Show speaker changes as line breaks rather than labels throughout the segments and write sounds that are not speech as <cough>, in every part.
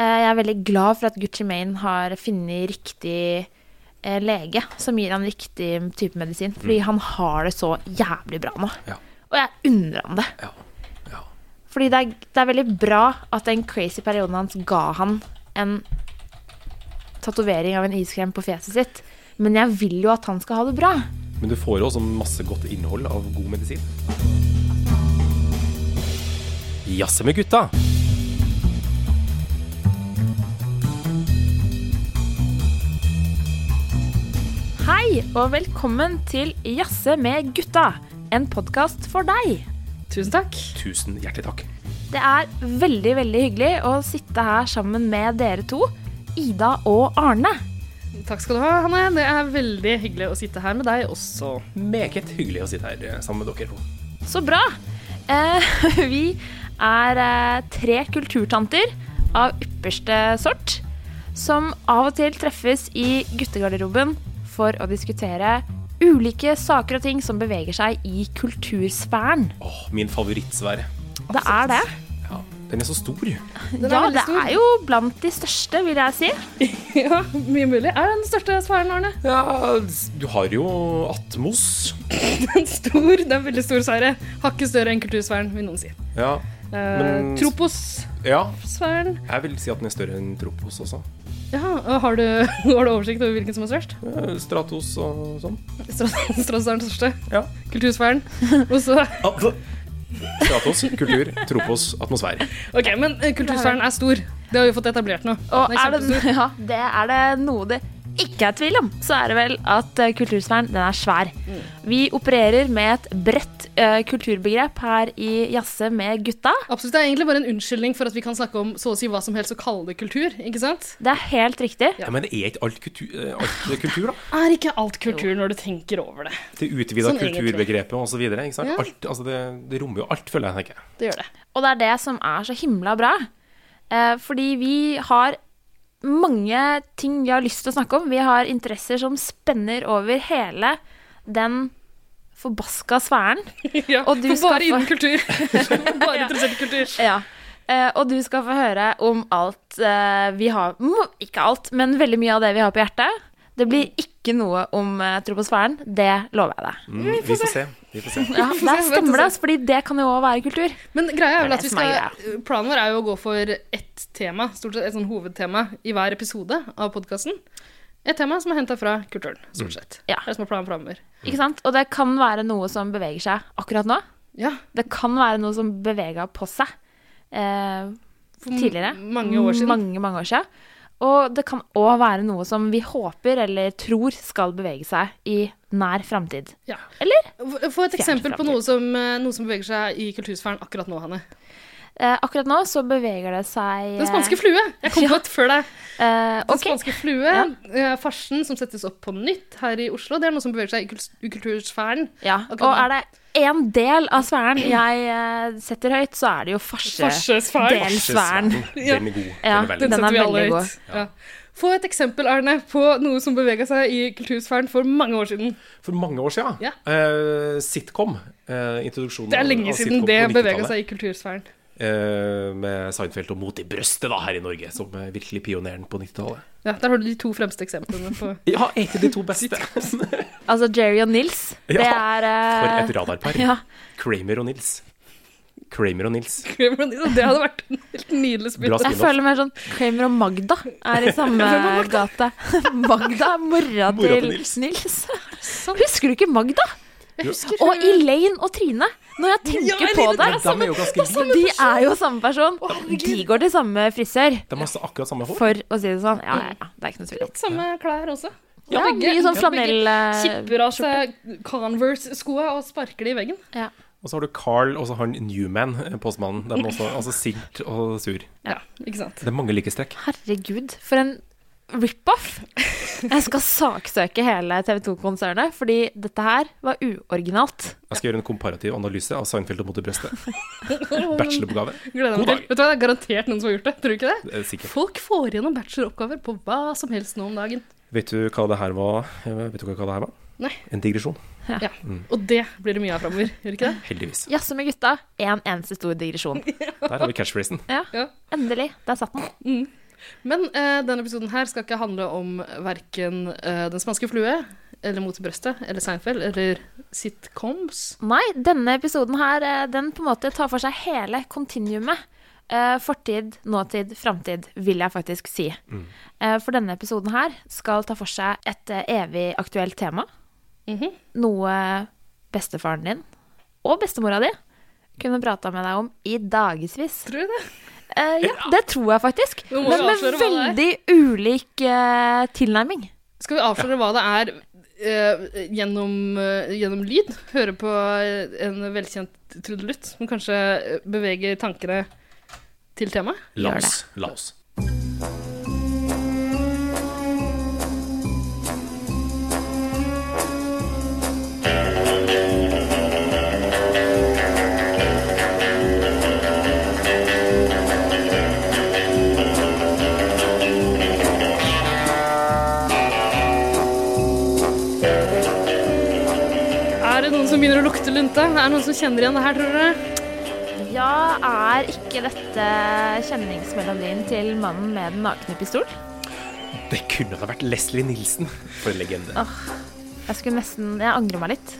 Eh, Jeg er veldig glad for at Gucci Mane har funnet riktig eh, lege som gir han riktig type medisin, fordi han har det så jævlig bra nå.
Ja.
Og jeg unner han det.
Ja. ja.
Fordi det er, det er veldig bra at den crazy perioden hans ga han en tatovering av en iskrem på fjeset sitt. Men jeg vil jo at han skal ha det bra.
Men du får jo også masse godt innhold av god medisin. Jazze med gutta!
Hei, og velkommen til Jazze med gutta, en podkast for deg.
Tusen takk.
Tusen hjertelig takk.
Det er veldig, veldig hyggelig å sitte her sammen med dere to, Ida og Arne.
Takk skal du ha, Hanne. Det er veldig hyggelig å sitte her med deg også.
Meget hyggelig å sitte her eh, sammen med dere to.
Så bra! Eh, <laughs> vi er eh, tre kulturtanter av ypperste sort, som av og til treffes i guttegarderoben for å diskutere ulike saker og ting som beveger seg i kultursfæren.
Åh, min favorittsfære.
Det er det.
Ja, den er så stor.
Den er
Ja,
veldig
det
stor.
er jo blant de største, vil jeg si.
<laughs> Ja, mye mulig. Er den største sfæren, Arne?
Ja, s- du har jo Atmos.
Den stor, det er en veldig stor sfære. Hakket større enn kultursfæren, vil noen si.
Ja.
Eh,
Men-
Tropossfæren.
ja, jeg vil si at den er større enn Tropos også.
Ja, og har du, <laughs> har du oversikt over hvilken som er størst?
Eh, Stratos og sånn.
Stras- Stras er den største.
Ja.
Kultursfæren. Og så
Stratos, kultur, Tropos, atmosfære.
OK, men eh, kultursfæren er stor. Det har vi fått etablert nå.
Og
Den er
er det,
kjempestor.
<laughs> ja, det er det noe det ikke er tvil om, så er det vel at eh, kultursfæren den er svær. Vi opererer med et bredt eh, kulturbegrep her i Jazze med gutta.
Absolutt, Det er egentlig bare en unnskyldning for at vi kan snakke om så å si hva som helst og kalle det kultur. ikke sant?
Det er helt riktig.
Ja, men det er ikke alt kultur, eh, alt kultur da.
Er ikke alt kultur når du tenker over det?
Det utvida
Sånn egentlig.
kulturbegrepet osv.
Ja.
Altså det, det rommer jo alt, føler jeg. tenker jeg.
Det gjør det.
Og det er det som er så himla bra. Eh, fordi vi har mange ting vi har lyst til å snakke om. Vi har interesser som spenner over hele den forbaska sfæren.
<laughs> Ja,
Og du
for
skal
bare
få-
innen
<laughs>
kultur. bare interessert i kultur.
Ja. Eh, og du skal få høre om alt eh, vi har mm, Ikke alt, men veldig mye av det vi har på hjertet. Det
Mm.
blir ikke noe om eh, troposfæren. Det lover jeg deg.
Mm, vi får se. Vi får se.
Ja, <laughs> der
se, vent og
stemmer det,
se.
altså, fordi det kan jo òg være kultur.
Men greia
Det
er
er
vel at
det
vi
som er
skal, planen vår er jo å gå for ett tema, stort sett et sånn hovedtema, i hver episode av podkasten. Et tema som er henta fra kulturen, stort sett.
Ja.
Det er det som er planen framover.
Ikke sant? Og det kan være noe som beveger seg akkurat nå.
Ja,
Det kan være noe som bevega på seg eh,
for m-
tidligere.
mange år siden.
Mange, mange år siden. Og det kan òg være noe som vi håper eller tror skal bevege seg i nær framtid.
Ja.
Eller?
Få- Få et
Fjern
eksempel på
fremtid.
noe som, eh, noe som beveger seg i kultursfæren akkurat nå, Hanne.
Eh, akkurat nå så beveger det seg
Den spanske flue! Jeg kom på et før deg.
Eh,
Den
ok.
spanske flue, eh, farsen som settes opp på nytt her i Oslo, det er noe som beveger seg i kuls- i kultursfæren.
Ja.
Akkurat
Og
nå.
er det én del av sfæren jeg eh, setter høyt, så er det jo farse.
Farsesfæren.
Del sværen.
Den er god.
Ja,
Den er veldig god.
Den
den er
setter vi alle
veldig
høyt. Ja. Få et eksempel, Arne, på noe som bevega seg i kultursfæren for mange år siden.
For mange år siden.
Ja.
eh, sitcom. eh, introduksjonen
Det er lenge siden det bevega
i
seg i kultursfæren.
eh, Med Seinfeld og Mot i brøstet da, her i Norge, som eh, virkelig pioneren på 90-tallet.
Ja, der har du de to fremste eksemplene på <laughs>
Ja, egentlig de to beste. <laughs>
Altså Jerry og Nils.
Ja,
Det er
For
eh,
et radarpar.
ja.
Kramer og Nils. Kramer og Nils.
Kramer og Nils. Det hadde vært en helt nydelig
Bra
spill.
Jeg føler mer sånn Kramer og Magda
<laughs>
er i samme gate. <laughs> Magda er mora
Mora til
til
Nils.
Nils.
Sant.
Husker du ikke Magda?
sånn Jeg husker
Og Elaine og Trine. Når jeg tenker på det.
Men de er jo ganske like.
De er jo samme person. De går til samme frisør,
De har akkurat samme hår.
for å si det sånn. Ja, ja, ja. Det er ikke noe tvil om.
Samme klær også.
Ja,
begge-
mye sånn
begge
flanell eh,
Kipper av seg Converse-skoa og sparker de i veggen.
Ja.
Og så har du Carl og så har han Newman, eh, postmannen. De er
<laughs>
også altså, sint og sur. Det
Ja,
<laughs>
ikke sant.
er mange likestrekk.
Herregud, for en <laughs> rip-off! Jeg skal saksøke hele TV 2-konsernet, fordi dette her var uoriginalt.
Jeg skal gjøre en komparativ analyse av Seinfeld og Mot i
<laughs>
brøstet. Bacheloroppgave.
Gleder
God dag.
meg til. Vet du hva, Det er garantert noen som har gjort det. Tror du ikke det?
Eh, Sikkert.
Folk får gjennom bacheloroppgaver på hva som helst nå om dagen.
Vet du hva det her var? Eh, Vet du hva det her var?
Nei.
En digresjon.
Ja. Og det blir det mye av framover, gjør det ikke det?
Heldigvis.
Jazze med gutta, én en eneste stor digresjon.
<laughs>
Der har vi catchphrasen.
Ja,
Ja.
endelig. Der satt den.
Men eh, denne episoden her skal ikke handle om verken eh, Den spanske flue, eller Mot i brøstet, eller Seinfeld, eller sitcoms.
Nei, denne episoden her, eh, den på en måte tar for seg hele kontinuumet. Eh, Fortid, nåtid, framtid, vil jeg faktisk si. Eh, For denne episoden her skal ta for seg et eh, evig aktuelt tema.
Mhm.
Noe bestefaren din og bestemora di kunne prata med deg om i dagevis.
Tror du det?
Eh, ja, det tror jeg faktisk.
Nå må
Men
vi
med
avsløre hva
veldig ulik eh, tilnærming.
Skal vi avsløre hva det er eh, gjennom, eh, gjennom lyd? Høre på eh, en velkjent trudelutt som kanskje eh, beveger tankene til temaet?
La
Gjør
oss. La oss.
Er det noen som begynner å lukte lunta? Er det noen som kjenner igjen det her, tror dere?
Ja, er ikke dette kjenningsmelodien til mannen med den nakne pistol?
Det kunne da vært Leslie Nilsen. For en
Ah.
legende.
Jeg skulle nesten Jeg angrer meg litt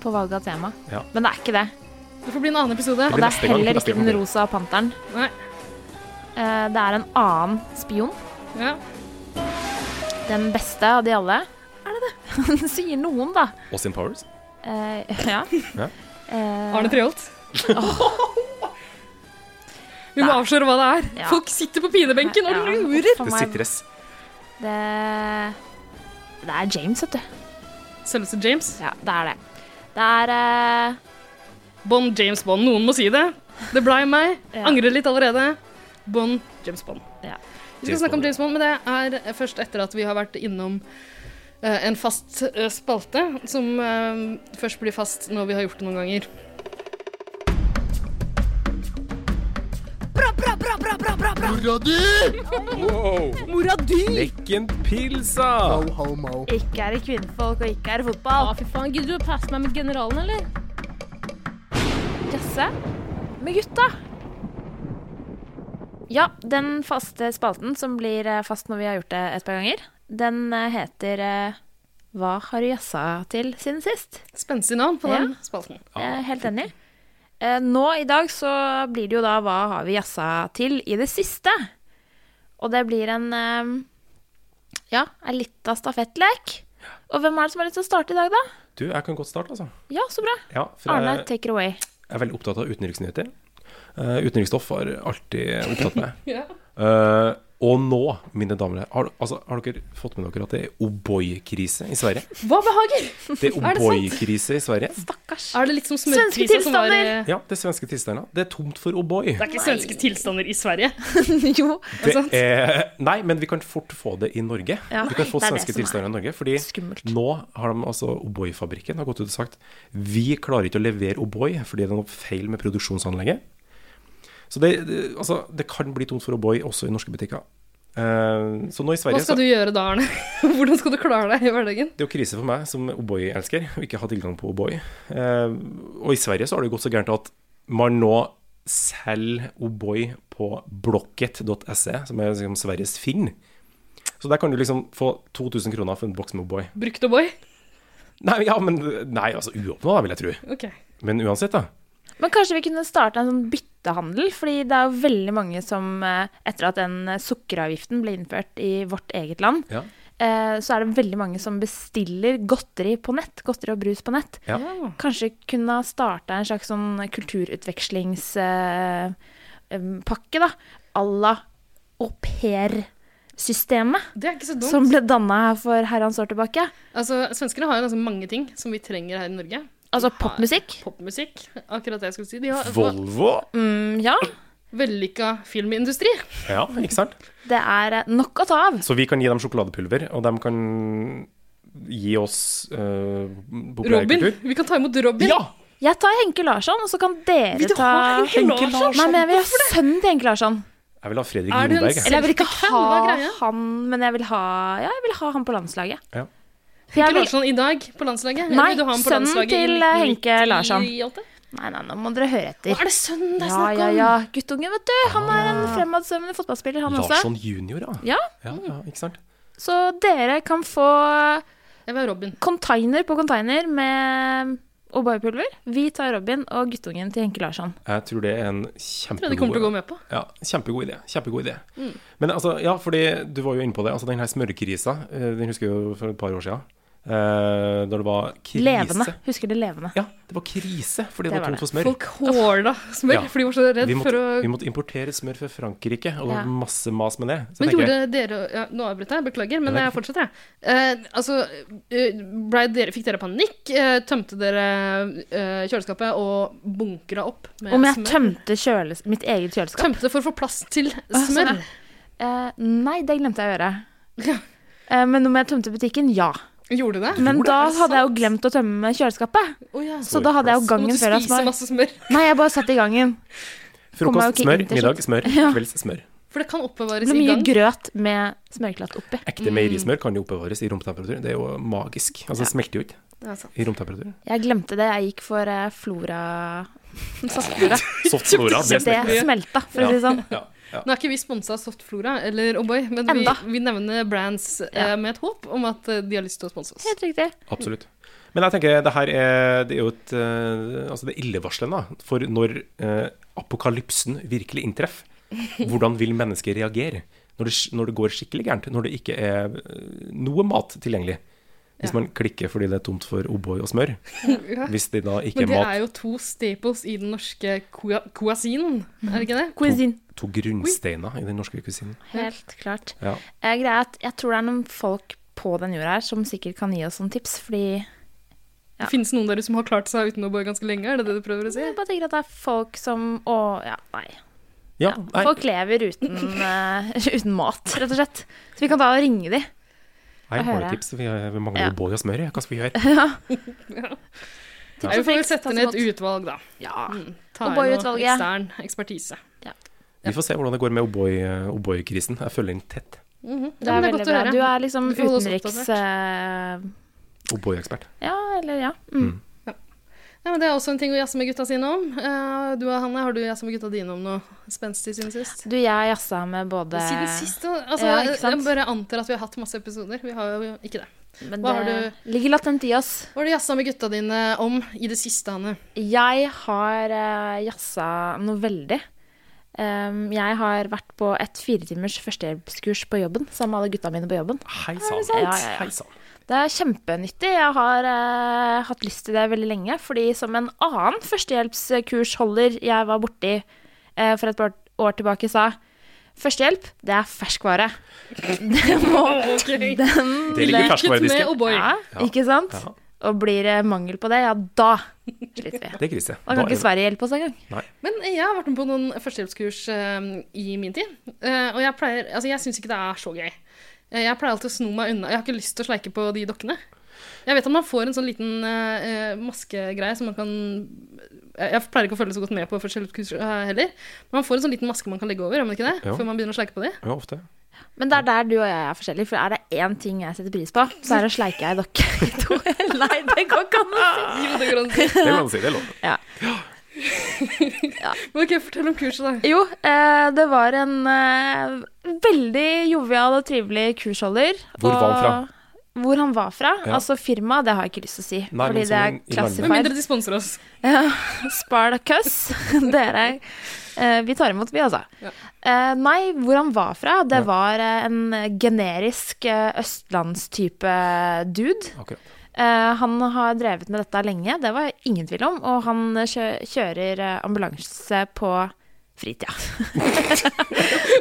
på valget av tema.
Ja.
Men det er ikke det.
Det får bli en annen episode.
Og
blir
det
neste
er
gang,
heller
neste
ikke
gang.
den rosa panteren.
Nei.
Eh, Det er en annen spion.
Ja.
Den beste av de alle. Er det <laughs> det? Sier noen, da.
Austin Powers.
Eh, <laughs> ja.
Ja.
Eh, <laughs>
Arne Treholt. Vi må
Nei.
avsløre hva det er.
Ja.
Folk sitter på pinebenken og
Ja,
lurer.
for
Det
meg-
sitter S.
Det, det er James, vet du.
Selveste James.
Ja, det er det. Det er eh,
Bond, James Bond. Noen må si det. Det blei meg.
Ja.
Angrer litt allerede. Bond, James Bond.
Ja.
Vi skal
James
snakke om
Bond.
James Bond, men det er først etter at vi har vært innom eh, en fast eh, spalte, som eh, først blir fast når vi har gjort det noen ganger.
Mora di! Mora di!
Lekken pilsa!
Ho, ho, mo.
Ikke er det kvinnfolk, og ikke er det fotball.
Ja, fy faen. Gidder du å passe meg med generalen, eller?
Jazze med gutta. Ja, den faste spalten som blir eh, fast når vi har gjort det et par ganger, den eh, heter eh, Hva har du jazza til siden sist?
Spenstig navn på den spalten.
Jeg er helt enig. Eh, Nå i dag så blir det jo da Hva har vi jazza til i det siste? Og det blir en eh, Ja, en litt av stafettlek. Og hvem er det som har lyst til å starte i dag, da?
Du, jeg kan godt starte, altså.
Ja, så bra.
Ja, for
Arne,
jeg,
take it away.
jeg er veldig opptatt av utenriksnyheter. Eh, utenriksstoff har alltid opptatt meg.
Ja.
Eh, og nå, mine damer og herrer, har, altså, har dere fått med dere at det er O'boy-krise i Sverige?
Hva behager?
<laughs>
Det <laughs> er
sant?
O'boy-krise i Sverige.
Stakkars.
Er det litt som
Svenske
smørkrisa som var i
tilstander!
Ja, det er svenske tilstander. Det er tomt for O'boy.
Det er ikke svenske tilstander i Sverige.
<laughs> jo,
Det
sant?
er- Nei, men vi kan fort få det i Norge.
Ja,
vi kan få
det er det som
svenske
er
tilstander i Norge. Fordi
skummelt.
nå har de altså O'boy-fabrikken har gått ut og sagt vi klarer ikke å levere O'boy fordi det er noe feil med produksjonsanlegget. Så det, det, altså, det kan bli tomt for O'boy også i norske butikker. Eh, så nå i Sverige
Hva skal du gjøre da, Arne? <laughs> Hvordan skal du klare deg i hverdagen?
Det er jo krise for meg som O'boy-elsker å ikke ha tilgang på O'boy. Eh, og i Sverige så har det jo gått så gærent at man nå selger O'boy på blocket.se, som er liksom Sveriges Finn. Så der kan du liksom få 2000 kroner for en boks med O'boy.
Brukt og boy?
Nei, ja, men Nei, altså uåpna, vil jeg tro.
Ok.
Men uansett, da.
Men kanskje vi kunne starte en sånn byttehandel, fordi det er jo veldig mange som eh, etter at den eh, sukkeravgiften ble innført i vårt eget land,
Ja.
eh, så er det veldig mange som bestiller godteri på nett, godteri og brus på nett.
Ja.
Kanskje kunne ha starta en slags sånn kulturutvekslingspakke, da, à la aupairsystemet
Det er ikke så dumt.
som ble danna her for herrens år tilbake.
Altså, Svenskene har jo ganske mange ting som vi trenger her i Norge.
Altså
De har
popmusikk.
Popmusikk, akkurat det jeg skulle si. De har altså,
Volvo.
Mm, ja.
vellykka filmindustri.
Ja, ikke sant?
Det er eh, nok å ta av.
Så vi kan gi dem sjokoladepulver, og de kan gi oss uh,
Robin.
populærkultur.
Vi kan ta imot Robin.
Ja!
Jeg tar Henke Larsson, og så kan dere
Vil du
ta
ha Henke
Henke Larsson?
Nei, men jeg vil ha sønnen til Henke Larsson.
Jeg vil ha Fredrik
Er du en
Lindberg. jeg.
s-
Eller jeg vil ikke
Henke,
ha
hva er greia?
han, men jeg vil ha Ja, jeg vil ha han på landslaget.
Ja.
Jeg
Henke
vil,
Larsson i dag på landslaget.
Nei,
Vil du ha ham på
sønnen
landslaget i
til, eh, Henke Larsson.
1998?
Nei, nei, nå må dere høre
Å,
etter.
er det sønnen det er
Ja,
snakk om? Ah.
ja, ja. Guttungen, vet du. Han er en fremadsvømmende fotballspiller, han også.
Larsson junior, ja.
Ja,
ja. Ja, ikke sant?
Så dere kan få
Jeg var Robin.
container på container med O'boy-pulver. Vi tar Robin og guttungen til Henke Larsson.
Jeg tror det er en
Tror jeg de kommer
kjempegod
til å gå med på.
ja, kjempegod idé. Kjempegod idé. Men altså, ja, fordi du var jo inne på det. Altså, den her smørkrisa, eh, den husker jeg jo for et par år siden. Eh, da det var krise.
Levende. Husker det levende.
Ja, det var krise fordi
Det
det, var
var
tomt
det.
for smør.
Folk håla smør,
Ja.
for de var så redd
vi, måtte,
for å
vi måtte importere smør fra Frankrike, og det
Ja.
var masse mas med det. Så
Men
jeg tenker,
gjorde dere ja, Nå avbryter jeg, beklager,
Nei,
men
det er
jeg fortsetter, jeg. Eh, altså, eh, ble dere, fikk dere panikk? Eh, tømte dere eh, kjøleskapet og bunkra opp med
Om jeg
smør?
tømte kjøles mitt eget kjøleskap?
Tømte for å få plass til
Å,
smør.
sånn, Eh, nei, det glemte jeg å gjøre.
Ja.
Eh, men om jeg tømte butikken? Ja.
Gjorde det?
Men
Gjorde
da
det? Er det
hadde jeg jo
sant?
glemt å tømme kjøleskapet.
Å, ja.
Så da hadde jeg jo
Så måtte
gangen
du
før av
spise
smør.
masse smør.
Nei, jeg bare satt i gangen. kom jeg jo
frokost,
ikke
smør,
inn til
middag, smør,
Ja.
kvelds smør.
For det kan
Det
oppbevares
ble
i
mye
gang.
grøt med smørklatt oppi.
Ekte meierismør kan jo oppbevares i romtemperatur. Det er jo magisk. Altså, det smelter jo ikke
Det er sant.
i romtemperatur.
Jeg glemte det. Jeg gikk for eh, flora Saftflora.
Softflora,
Det
det smelter.
smelta, for å si det
<laughs>
sånn.
Ja, ja.
Nå er ikke vi sponsa av Softflora eller O'boy, men vi,
Enda.
vi nevner brands eh, med et håp om at eh, de har lyst til å sponse oss.
Helt riktig.
Absolutt. Men jeg tenker det her er, det er jo et eh, Altså, det er illevarslende da, for når eh, apokalypsen virkelig inntreffer. Hvordan vil mennesker reagere når det, sk- når det går skikkelig gærent? Når det ikke er eh, noe mat tilgjengelig? Hvis man klikker fordi det er tomt for O'boy og smør.
<laughs> Ja.
Hvis det da ikke er
Men det
mat
er jo to staples i den norske kuasinen, er det ikke det?
Cuisine.
To grunnsteiner i den norske kusinen.
Helt klart.
Ja.
Eh, greia er at jeg tror det er noen folk på den jorda her som sikkert kan gi oss noen tips, fordi Ja.
Det Finnes noen der ute som har klart seg uten å bo ganske lenge? Er det det du prøver å si?
jeg bare tenker at det er folk som Å, ja, nei.
Ja,
Ja,
nei,
Folk lever
<laughs>
uten, eh, <laughs> uten mat, rett og slett. Så vi kan da ringe de.
nei,
hører jeg.
barnetips. Vi, vi mangler
Ja.
O'boy og smør. ja. Hva skal vi gjøre?
Tips
Nei,
og triks,
vi får vel sette
ta så
ned
godt.
et utvalg, da.
Ja.
Mm. Ta inn noe
O'boy-utvalget.
ekstern ekspertise.
Vi får se hvordan det går med O'boy- O'boy-krisen. Jeg følger den tett.
Mhm.
Det er, veldig bra. Du er liksom
Du får holde oss
utenriks...
O'boy-ekspert.
eh, ja, eller ja. Mm.
Ja, men det er også en ting å jazze med gutta sine om. Eh, du og Hanne, har du jazza med gutta dine om noe spenstig siden sist?
Du, jeg jazza med både
Siden sist, da? Altså,
Ja, ikke sant?
jeg bare antar at vi har hatt masse episoder. Vi har jo ikke det.
Men
Hva har
det ligger latent i oss.
Hva har du jazza med gutta dine om i det siste, Hanne?
Jeg har eh, jazza noe veldig. Um, jeg har vært på et firetimers førstehjelpskurs på jobben sammen med alle gutta mine på jobben.
Hei sann.
Ja, ja, ja.
Hei sann.
Det er kjempenyttig. Jeg har eh, hatt lyst til det veldig lenge. Fordi som en annen førstehjelpskursholder jeg var borti eh, for et par år tilbake, sa førstehjelp, det er ferskvare. <laughs> Det må den
Det ligger i
Kutt med
ferskvaredisken.
O'boy.
ja, Ikke sant?
Ja.
Og blir det mangel på det, ja, da sliter vi.
Det er krise.
Da
Da
kan
er
ikke
det-
Sverige hjelpe oss engang.
Men jeg har vært med på noen førstehjelpskurs eh, i min tid. eh, og jeg pleier Altså, jeg syns ikke det er så gøy. Eh, jeg pleier alltid å sno meg unna. Jeg har ikke lyst til å sleike på de dokkene. Jeg vet at man får en sånn liten eh, eh, maskegreie som man kan jeg, jeg pleier ikke å følge så godt med på førstehjelpskurs eh, heller. Men man får en sånn liten maske man kan legge over, gjør man ikke det?
Jo.
Før man begynner å sleike på <laughs> de.
Ja, ofte.
Men det er der du og jeg er forskjellige, for er det én ting jeg setter pris på, så er det å sleike ei dokke <laughs> i to. Nei, det går ikke an å si.
Jo, det går an å si.
Det kan man si. Det er lov.
Men OK, fortell om kurset, da.
Jo, eh, det var en eh, veldig jovial og trivelig kursholder.
Hvor var han fra?
og- Hvor han var fra?
Ja.
Altså firma, det har jeg ikke lyst til å si.
Nei, men
fordi det
som
er
en- i
Med mindre
classified.
de sponser oss.
Spartacus. <laughs> Dere eh, Vi tar imot, vi, altså.
Ja.
Eh, nei, hvor han var fra? Det var eh, en generisk eh, østlandstype dude. <laughs>
Akkurat.
Eh, han har drevet med dette lenge, det var ingen tvil om. Og han kjø kjører eh, ambulanse på fritida. <laughs>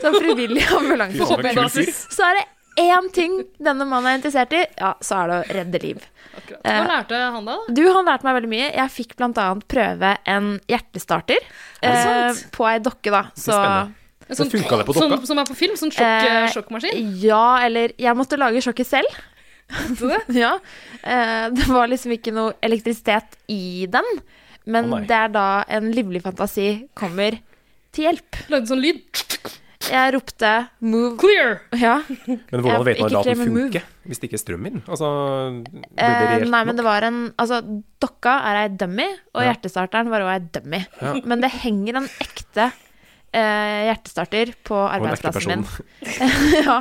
Sånn frivillig
Fy faen,
ambulanse.
for en kul fyr.
Så er det én ting denne mannen er interessert i, ja, så er det å redde liv.
Akkurat. Hva lærte han da? da?
Du, han lærte meg veldig mye. Jeg fikk bl.a. prøve en hjertestarter eh, på ei dokke, da. Så
spennende.
En
Men funka det på dokka?
Sånn, som er på film? Sånn sjokk,
Eh,
sjokkmaskin?
Ja, eller Jeg måtte lage sjokket selv. <laughs> ja. Eh, det var liksom ikke noe elektrisitet i den, men
Å nei.
det er da en livlig fantasi kommer til hjelp.
Lagde sånn lyd?
Jeg ropte 'move'.
Clear!
<laughs>
Ja.
Men
Jeg-
hvordan vet
ikke
man da at den
krem, move.
funker, hvis det ikke er strøm i den? Altså, blir det
Eh,
reelt
nei, men
nok?
det var en Altså, dokka er ei dummy, og
Ja.
hjertestarteren var òg ei dummy.
Ja.
Men det henger en ekte eh, hjertestarter på
Og en ekte
arbeidsplassen
person.
min. <laughs> ja,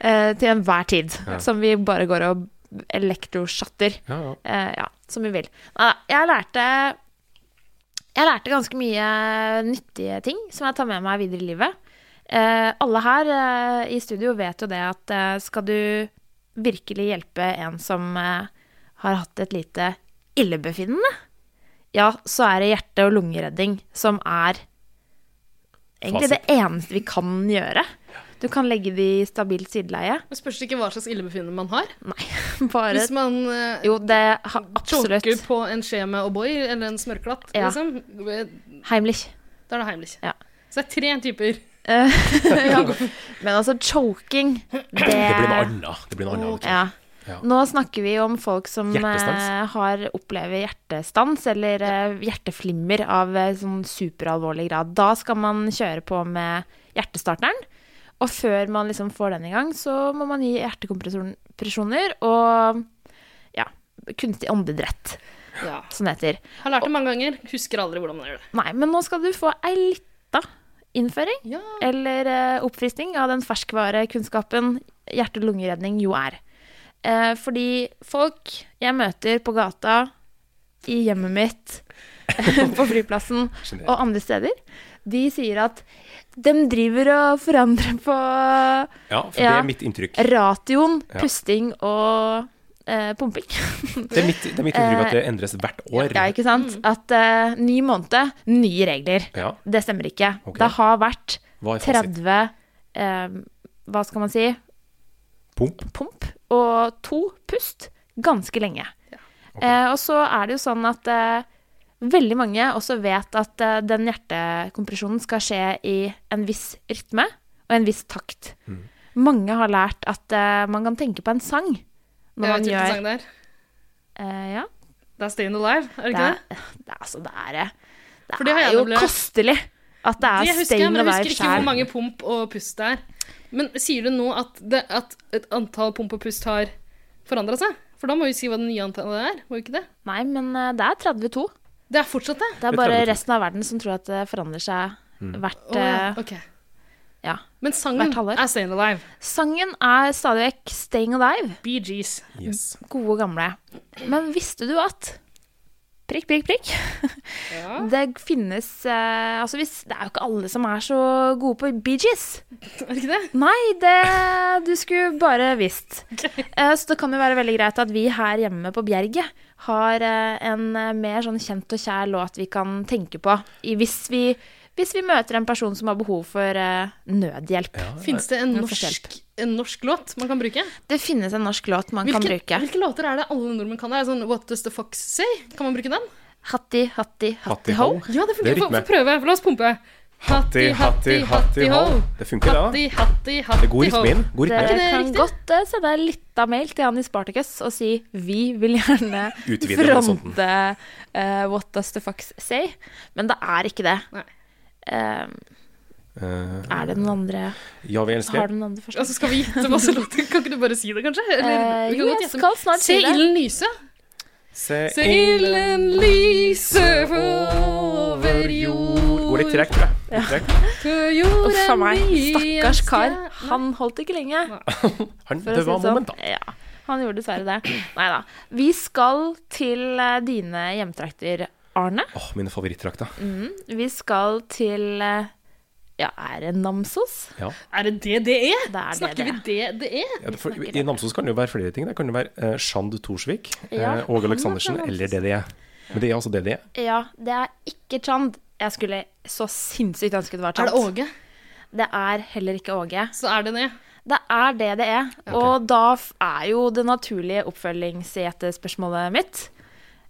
eh, til enhver tid.
Ja.
Som vi bare går og elektroshatter.
<laughs> Ja, ja.
Eh, ja, som vi vil. Neida, jeg lærte Jeg lærte ganske mye nyttige ting som jeg tar med meg videre i livet. Eh, alle her eh, i studio vet jo det at eh, skal du virkelig hjelpe en som eh, har hatt et lite illebefinnende, ja, så er det hjerte- og lungeredding som er egentlig det eneste vi kan gjøre. Du kan legge de i stabilt sideleie.
Det spørs ikke hva slags illebefinnende man har.
Nei, <laughs> bare
Hvis man eh,
Jo, det har absolutt
choker på en skje med O'boy eller en smørklatt,
Ja.
liksom, eh,
Heimlich.
da er det heimlich.
Ja.
Så det er tre typer.
Eh, ja. Men altså, choking Det,
<clears throat> Det blir noe annet. Det blir noe annet.
Ja.
Ja.
Nå snakker vi om folk som
Hjertestans.
eh, har opplever hjertestans eller eh, hjerteflimmer av eh, sånn superalvorlig grad. Da skal man kjøre på med hjertestarteren. Og før man liksom får den i gang, så må man gi hjertekompresjoner og ja, kunstig åndedrett,
Ja.
som det heter.
Har lært det mange ganger, husker aldri hvordan man gjør det.
Nei, men nå skal du få ei lita innføring.
Ja.
eller eh, oppfriskning av den ferskvarekunnskapen hjerte-lungeredning jo er. Eh, fordi folk jeg møter på gata, i hjemmet mitt, <laughs> på flyplassen og andre steder, de sier at de driver og forandrer på
Ja, for det
Ja.
er mitt inntrykk.
ratioen,
Ja.
pusting og eh, pumping.
Det er mitt, det er mitt inntrykk at det endres hvert år.
Eh, <laughs> Ja, ikke sant? At eh, ny måned, nye regler.
Ja.
Det stemmer ikke.
Ok.
Det har vært
Hva er fasit?
30 eh, Hva skal man si?
Pump?
pump og to pust ganske lenge. Eh, og så er det jo sånn at eh, veldig mange også vet at eh, den hjertekompresjonen skal skje i en viss rytme og en viss takt.
Mm.
Mange har lært at eh, man kan tenke på en sang når
Jeg
man
vet hvilken
gjør
sang det er.
eh, ja,
Det er Stayin' Alive, er det
det er,
ikke det?
det er altså Det er, eh, det
For det har
er
jeg
jo
opplevd.
kostelig at det
Det
er
husker jeg,
stein
men
og
jeg
vær
husker ikke hvor
sjæl.
mange pump og pust det er. Men sier du nå at, det, at et antall pump og pust har forandra seg? For da må vi si hva det nye antallet er, må vi ikke det?
Nei, men eh, det er 32.
Det er fortsatt det.
Det er
Det er
bare
32.
resten av verden som tror at det forandrer seg hvert
Å, ja.
eh,
ok.
ja.
Men
Hvert
sangen
halvår.
er Stayin' Alive.
Sangen er stadig vekk 'Staying Alive',
Bee Gees.
Yes.
gode gamle. Men visste du at Prikk, prikk, prikk.
Ja.
<laughs> Det finnes eh, Altså, hvis, det er jo ikke alle som er så gode på Bee Gees.
Er det ikke det?
Nei, det du skulle bare visst. Eh, så det kan jo være veldig greit at vi her hjemme på Bjerget har eh, en eh, mer sånn kjent og kjær låt vi kan tenke på i, hvis, vi, hvis vi møter en person som har behov for eh, nødhjelp.
Fins det en
Nå får jeg
norsk, en norsk låt man kan bruke?
Det finnes en norsk låt man kan
Hvilke-
bruke.
Hvilke låter er det alle nordmenn kan? Er det sånn What Does The Fox Say? Kan man bruke den?
Hatti, hatti, hatti,
Hattie
ho.
ho.
Ja, det
Det
funker.
er
Få
rytme.
få prøve. La oss pumpe.
Hatti, hatti, hatti ho. Det funker, det.
Hatti, hatti, hatti,
Det er god rytme inn. God
Dere
rytme.
det
kan
riktig?
godt eh, sende en liten mail til han i Spartacus og si vi vil gjerne
<laughs> Utvide horisonten.
fronte eh, What Does The Fox Say? Men det er ikke det.
Nei.
Eh,
Eh,
er det noen andre
ja, vi
Har
elsker.
du noen andre
Og
forslag?
så skal vi gjette masse låter. Kan ikke du bare si det, kanskje?
Eh,
vi kan
jo,
godt
jeg
gjette.
skal snart
Se
si det.
ilden lyse.
Se
Se Eh, ilden lyse over jord.
Går litt trekk, tror jeg. Litt trekk.
Til jorden
Uff a meg.
vi
Stakkars kar.
elsker.
Han holdt ikke lenge.
Han,
for å
det
si
var
sånn.
moment, da.
Ja, han gjorde dessverre det. Nei da. Vi skal til eh, dine hjemtrakter, Arne.
Åh, mine favorittdrakter.
Mm. Vi skal til eh, Ja, er det Namsos?
Ja.
Er det det det er?
Det er E.
Snakker
det
vi det det er?
Ja, for, I Namsos kan det jo være flere ting. Det kan jo være eh, Shand Thorsvik,
Ja,
eh, Åge Aleksandersen
han er fra
eller DDE. Men det er altså DDE.
Ja, det er ikke Chand. Jeg skulle så sinnssykt ønske det var
Er
Chand.
det Åge?
Det er heller ikke Åge.
Så er det det.
Det er det det er. Og da f- er jo det naturlige oppfølgingsgjetespørsmålet mitt.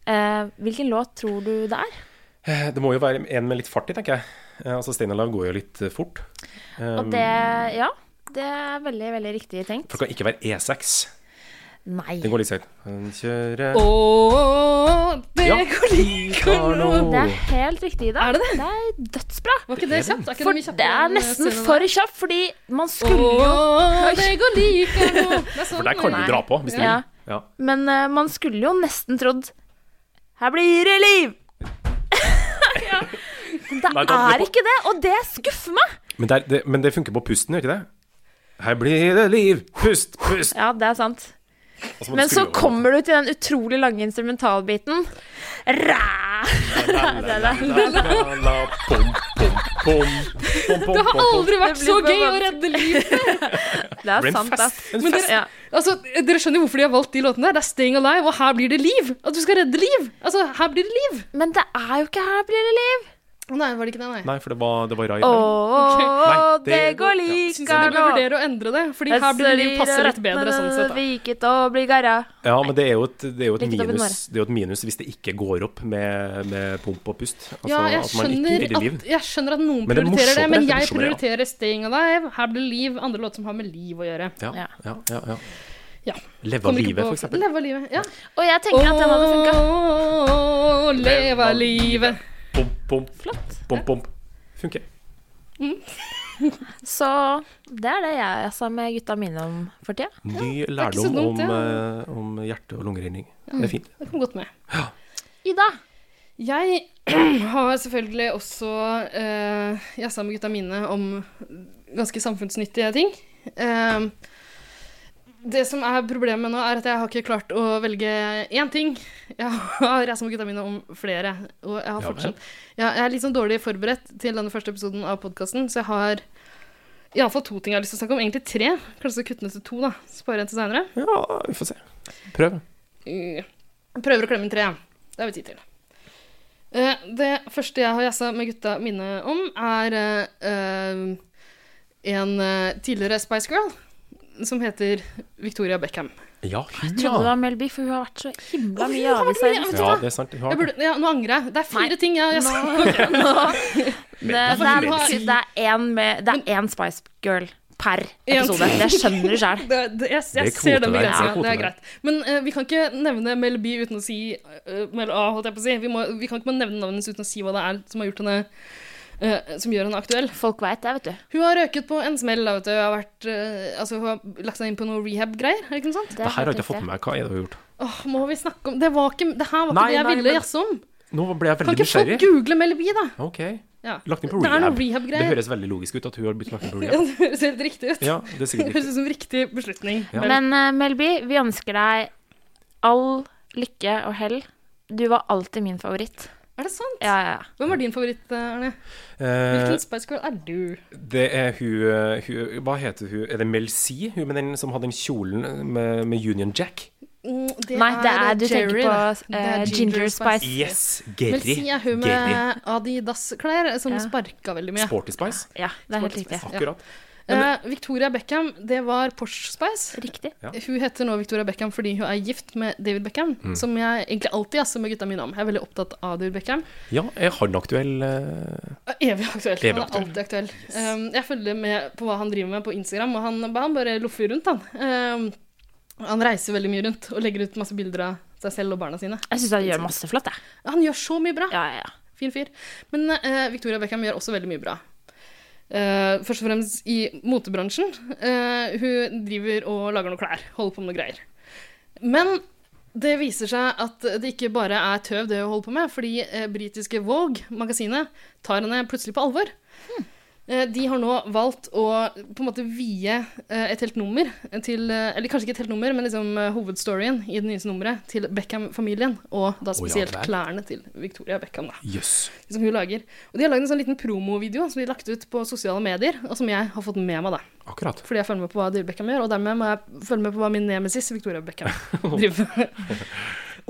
Eh, hvilken låt tror du det er?
Eh, Det må jo være en med litt fart i, tenker jeg. Eh, altså Stein Olav går jo litt eh, fort.
Og det Ja, det er veldig, veldig riktig tenkt.
For det kan ikke være E6.
Nei.
E Den går litt seigt. Han kjører
Ååå, det
Ja.
går ikke noe
Det er
Oh.
helt riktig, Ida.
Er det det?
Det er dødsbra.
Var ikke det kjapt? Er ikke
For
det mye kjappere
det er
enn
nesten
scenen
for
der?
kjapt, fordi man skulle jo
Ååå, det går like noe. Det er sånn,
For der kan du
Nei.
dra på hvis du
Ja.
vil. Ja.
Men eh, man skulle jo nesten trodd Her blir det liv! <laughs> ja.
Nei,
Det
da-
er ikke det, og det skuffer meg.
Men, der, det, men det funker på pusten, gjør ikke det? Her blir det liv! Pust, pust!
Ja, det er sant.
Og må du
Men så
skru over.
kommer du til den utrolig lange instrumentalbiten. Ræ!
La-la-la-la-la, Pom, pom, pom, pom, pom,
Det har
pom, pom.
aldri vært
Det
så
blir
gøy å
bare
redde liv.
Det er
Det ble en
sant, ass.
fest. En
Men
fest.
dere,
Ja.
altså, dere skjønner jo hvorfor de har valgt de låtene der. Det er Staying Alive, og her blir det liv. At du skal redde liv. Altså, her blir det liv.
Men det er jo ikke her blir det liv.
Nei, var det ikke det, nei.
Nei, for det var, det var rai.
Å,
Nei, det-
det går
Syns jeg
lika
du
nå.
bør vurdere å endre det, fordi her blir det liv passer litt bedre sånn sett. Da.
Viket og blir garra.
Ja, men det er jo et, det er jo et,
Likt opp i
minus, det er jo et minus hvis det ikke går opp med, med pump og pust. Altså,
Ja, jeg
at man ikke
skjønner
redder liv.
at, jeg skjønner at noen
Men det er
prioriterer det,
morsommere,
men
det er
jeg
morsommere, ja.
prioriterer Staying Alive, Her blir det liv, andre låter som har med liv å gjøre.
Ja,
Ja.
ja, ja, ja.
Ja.
Leve av
Kommer ikke
livet,
på-
for eksempel.
Leve av livet, ja.
Og jeg tenker at den hadde funka.
Åh, leve av livet.
Pom, pom, pom, pom. Funker.
Så det er det jeg altså, med gutta mine om for tida.
Ny
ikke så
lærdom
dumt, Mm.
om,
det,
eh, om hjerte- og lungeredning. Det er fint.
Det kom godt med.
Ida.
Jeg <clears throat> har selvfølgelig også uh, jazza med gutta mine om ganske samfunnsnyttige ting. Eh, det som er problemet nå, er at jeg har ikke klart å velge én ting. Jeg har jazza med gutta mine om flere, og jeg har
Ja vel.
fortsatt ja, Jeg er litt sånn dårlig forberedt til denne første episoden av podkasten, så jeg har iallfall to ting jeg har lyst til å snakke om. Egentlig tre. Kanskje kutte ned til to, da. Spare en til seinere.
Ja, vi får se. Prøv.
Jeg Mm. Prøver å klemme inn tre. Det har vi tid til. Eh, Det første jeg har jazza med gutta mine om, er eh, eh, en eh, tidligere Spice Girl som heter Victoria Beckham.
Ja,
Jeg trodde det
ja.
var Melby, for hun har vært så himla
Å,
mye i
hun har vært
avisa. i
mye-
det
vet du
ja,
hva?
det er sant.
Jeg burde, ja, nå angrer jeg. Det er fire
Nei.
ting jeg har jazza.
siste. <laughs> Det, det, er,
Melby.
ikke- det, er en med, det er én Spice Girl per
En.
episode. Det skjønner du sjøl.
<laughs> Det, det, jeg
er
jeg ser
kvote der.
den begrensninga.
Ja, kvote
det er
der.
greit. Men eh, vi kan ikke nevne Mel B uten å si eh, Mel A, holdt jeg på å si. Vi, må, vi kan ikke bare nevne navnet hennes uten å si hva det er som, har gjort henne, eh, som gjør henne aktuell.
Folk veit det, vet du.
Hun har røket på en smell. da, Vet du. Hun, har vært, eh, altså, hun har lagt seg inn på noe rehab-greier. er det ikke noe sånt?
Det
Det her har jeg
helt
ikke fått
riktig.
med meg. Hva er det du har gjort?
Åh, må vi snakke om Det, var ikke, det her var ikke
Nei,
det jeg
nei,
ville
men-
jazze om.
Nå ble jeg
Kan
veldig
ikke folk
nysgjerrig.
google Mel B, da?
Ok.
Ja.
Lagt inn på
Det er noe
rehab. Det
<laughs> rehab-greier.
høres veldig logisk ut at hun har blitt lagt inn på
Ja,
rehab.
det høres helt riktig ut.
<laughs> Ja, det er
<laughs> Det
sikkert
høres
riktig.
ut som riktig beslutning.
Ja.
Mel.
Men eh, Melby, vi ønsker deg all lykke og hell. Du var alltid min favoritt.
er det sant?
Ja, ja, ja.
Hvem var din favoritt, Arne?
Eh,
Hvilken Spice Girl er du?
det er hun, eh, hun Hva heter hun? Er det Mel C? Hun med den som hadde den kjolen med, med Union Jack?
Mm, Det
Nei, det er, du
Jerry,
tenker på
da.
eh,
Det er
Ginger Spice.
Yes!
Mel C
Gerry.
er hun
Gerry.
med Adidas-klær eh, som
Ja.
sparka veldig mye.
Sporty Spice.
Ja, det er helt
Sporty
riktig.
Spice. Ja.
Akkurat.
Eh, Victoria Beckham, det var Porsche Spice.
Riktig.
Ja.
Hun heter nå Victoria Beckham fordi hun er gift med David Beckham,
Mm.
som jeg egentlig alltid jazzer med gutta mine om. Jeg er veldig opptatt av David Beckham.
Ja, er han aktuell? eh,
Er Evig aktuell.
Evig
han er
aktuell.
alltid aktuell. Um, jeg følger med på hva han driver med på Instagram, og han, han bare loffer rundt, han. Um, han reiser veldig mye rundt og legger ut masse bilder av seg selv og barna sine.
Jeg syns han gjør masse flott, jeg.
Han gjør så mye bra.
Ja, ja, ja.
Fin fyr. Men eh, Victoria Beckham gjør også veldig mye bra. Eh, først og fremst i motebransjen. Eh, hun driver og lager noe klær. Holder på med noe greier. Men det viser seg at det ikke bare er tøv det hun holder på med, fordi eh, britiske Vogue-magasinet tar henne plutselig på alvor. Eh, De har nå valgt å på en måte vie eh, et helt nummer til eh, Eller kanskje ikke et helt nummer, men liksom eh, hovedstoryen i det nyeste nummeret til Beckham-familien, og da
ja
spesielt
vel.
klærne til Victoria Beckham, da
Jøss.
som hun lager. Og de har lagd en sånn liten promovideo som de har lagt ut på sosiale medier, og som jeg har fått med meg, da.
Akkurat.
Fordi jeg følger med på hva David Beckham gjør, og dermed må jeg følge med på hva min nemesis
<laughs>
Victoria Beckham driver med.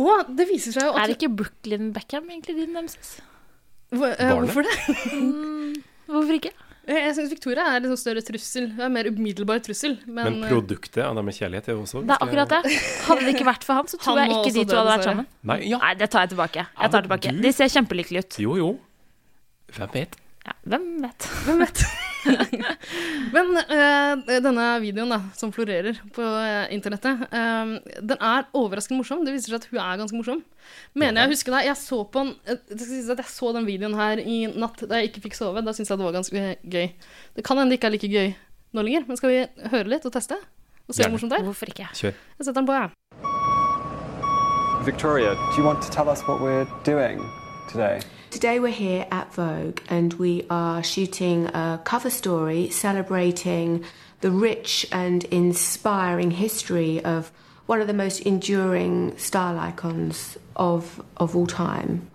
og det viser seg jo
Er
at
det ikke Brooklyn Beckham egentlig din nemesis?
Hvor- eh,
Barnet?
Hvorfor det?
Hvorfor ikke?
Eh, Jeg syns Victoria er en sånn større trussel. Hun er en mer umiddelbar trussel. Men, eh,
Men produktet av det med kjærlighet er jo også
Det er akkurat det. Hadde det ikke vært for han, så tror
Han
jeg
var
ikke
også
de to
død,
hadde vært
dessverre.
sammen.
Nei, ja.
Nei, det tar jeg tilbake. Jeg tar
men
tilbake.
du-
De ser kjempelykkelige ut.
Jo, jo. Hvem vet?
Ja, hvem vet.
Hvem vet? Men eh, denne videoen da, som florerer på eh, internettet, eh, den er overraskende morsom. Det viser seg at hun er ganske morsom. Mener jeg husker det. Jeg så på den, eh, det skal sies at jeg så den videoen her i natt da jeg ikke fikk sove. Da syntes jeg det var ganske eh, gøy. Det kan hende det ikke er like gøy nå lenger, men skal vi høre litt og teste? Og se
Gjerne.
hvor morsomt det er?
Hvorfor ikke?
Kjør.
Jeg setter den på, jeg.
Victoria, do you want to tell us what we're doing today?
Today we're here at Vogue and we are shooting a cover story celebrating the rich and inspiring history of one of the most enduring style icons of of all time.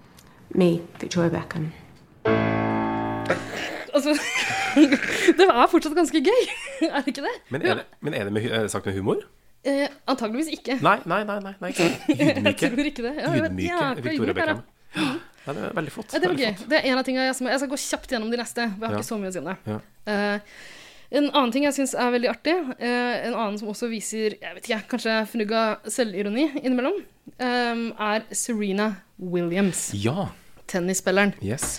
Me, Victoria Beckham.
Altså, <laughs> det er fortsatt ganske gøy, <laughs> er det ikke det?
Men er det, men er det, med, hu- er det sagt med humor?
Eh, antageligvis ikke.
Nei, nei, nei. nei, nei.
Jeg
Ydmyke.
tror ikke det. Ja, jeg vet-
Ydmyke
jækla
Victoria
ydmyk er det.
Beckham. <gasps> Ja, nei, det er veldig flott.
Ja, Det var
veldig
gøy.
flott.
Det er en av tingene jeg, som- jeg skal gå kjapt gjennom de neste. for Jeg har
Ja.
ikke så mye å si om det.
Ja.
Eh, en annen ting jeg syns er veldig artig, eh, en annen som også viser jeg vet ikke, kanskje fnugg av selvironi innimellom, eh, er Serena Williams,
Ja.
tennisspilleren.
Yes.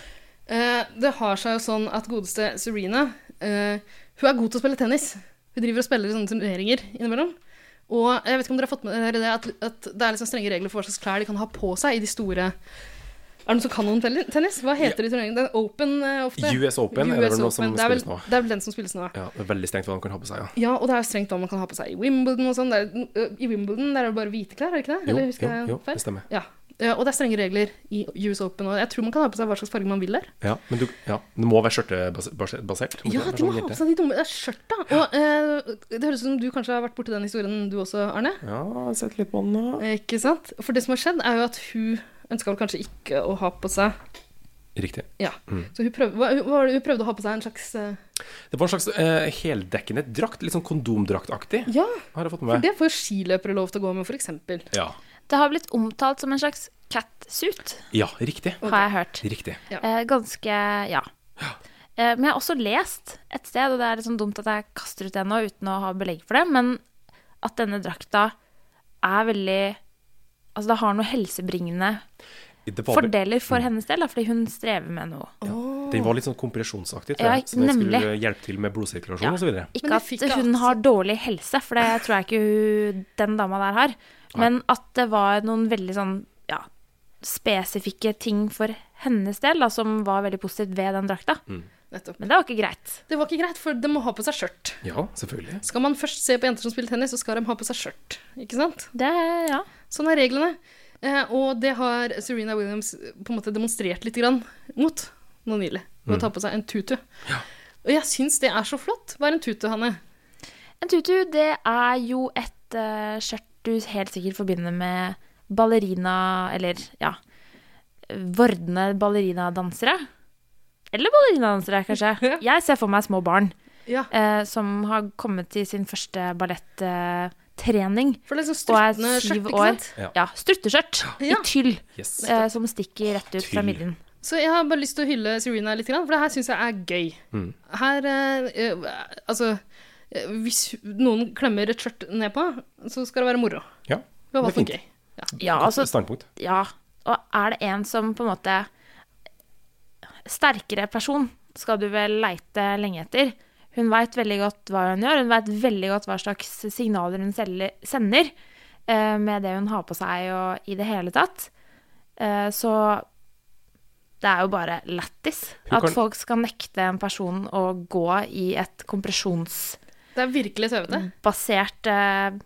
Eh, det har seg jo sånn at godeste Serena eh, Hun er god til å spille tennis. Hun driver og spiller i sånne turneringer innimellom. Og jeg vet ikke om dere har fått med dere det at, at det er liksom strenge regler for hva slags klær de kan ha på seg i de store Er det noen som kan noe om tell- tennis? Hva heter de turneringene? Det er Open eh, ofte.
US Open er det vel noe som
Det er vel,
spilles nå.
Det er vel den som spilles nå.
Ja, det er veldig strengt hva de kan ha på seg. Ja.
Ja, og det er jo strengt hva man kan ha på seg i Wimbledon og sånn. Det er- ø, I Wimbledon der er det bare hvite klær, er det ikke det?
Jo,
Eller husker
jo,
jeg
jo,
feil?
det stemmer.
Ja. Eh, Og det er strenge regler i US Open, og jeg tror man kan ha på seg hva slags farge man vil der.
Ja, men du, ja, det må være skjørtebasert.
Ja, de må ha sånn. på seg de dumme det er skjørta. Og eh, det høres ut som du kanskje har vært borti den historien du også, Arne.
Ja, jeg har sett litt på den nå.
Eh, Ikke sant? For det som har skjedd, er jo at hun ønska vel kanskje ikke å ha på seg
Riktig.
Ja. Så hun prøvde, hva, hva, var det hun prøvde å ha på seg en slags eh,
Det var en slags eh, heldekkende drakt, litt sånn kondomdraktaktig,
Ja,
har jeg fått
for
med meg.
det får jo skiløpere lov til å gå med, f.eks.
Ja.
Det har blitt omtalt som en slags catsuit,
ja, riktig.
har jeg hørt.
Riktig.
Eh, ganske Ja. Eh, men jeg har også lest et sted, og det er litt sånn dumt at jeg kaster ut det nå uten å ha belegg for det, men at denne drakta er veldig Altså, det har noe helsebringende
Det var, vel-
fordeler for hennes del, da, fordi hun strever med noe.
den var litt sånn kompresjonsaktig,
Ja,
tror jeg. Så den skulle
nemlig.
hjelpe til med blodsirkulasjon og så videre.
Ikke
Men de fikk
at
alt.
hun har dårlig helse, for det tror jeg ikke hun, den dama der har, men at det var noen veldig sånn ja, spesifikke ting for hennes del da, som var veldig positivt ved den drakta.
Nettopp.
Men det var ikke greit.
Det var ikke greit, for de må ha på seg skjørt.
Ja, selvfølgelig.
Skal man først se på jenter som spiller tennis, så skal de ha på seg skjørt. Ikke sant?
Det, ja.
Sånn er reglene. Eh, og det har Serena Williams eh, på en måte demonstrert litt grann mot nå nylig.
Mm.
Ved å ta på seg en tutu. Og jeg syns det er så flott. Hva er en tutu, Hanne?
En tutu, det er jo et eh, skjørt du helt sikkert forbinder med ballerina, eller ja, vordende ballerina-dansere. Eller ballerina-dansere, kanskje.
<laughs> Ja.
Jeg ser for meg små barn
Ja,
eh, som har kommet til sin første balletttrening.
for det er sånn
og er
struttende skjørt,
syv
ikke
år.
sant?
Ja.
Ja, strutteskjørt
Ja.
i tyll,
Yes.
eh, som stikker rett ut fra
Tyll.
midjen.
Så jeg har bare lyst til å hylle Serena litt, grann, for det her syns jeg er gøy.
Mm.
Her eh, eh, Altså eh, Hvis noen klemmer et skjørt ned på, så skal det være moro.
Ja.
Det var
Det er fint.
gøy.
Ja, altså,
Standpunkt.
ja. Og er det en som på en måte Sterkere person skal du vel leite lenge etter. Hun veit veldig godt hva hun gjør, hun veit veldig godt hva slags signaler hun selger- sender eh, med det hun har på seg og i det hele tatt. Eh, så det er jo bare lættis
Hun
at
kan-
folk skal nekte en person å gå i et kompresjons...
Det er virkelig tøvete.
Mm. basert eh,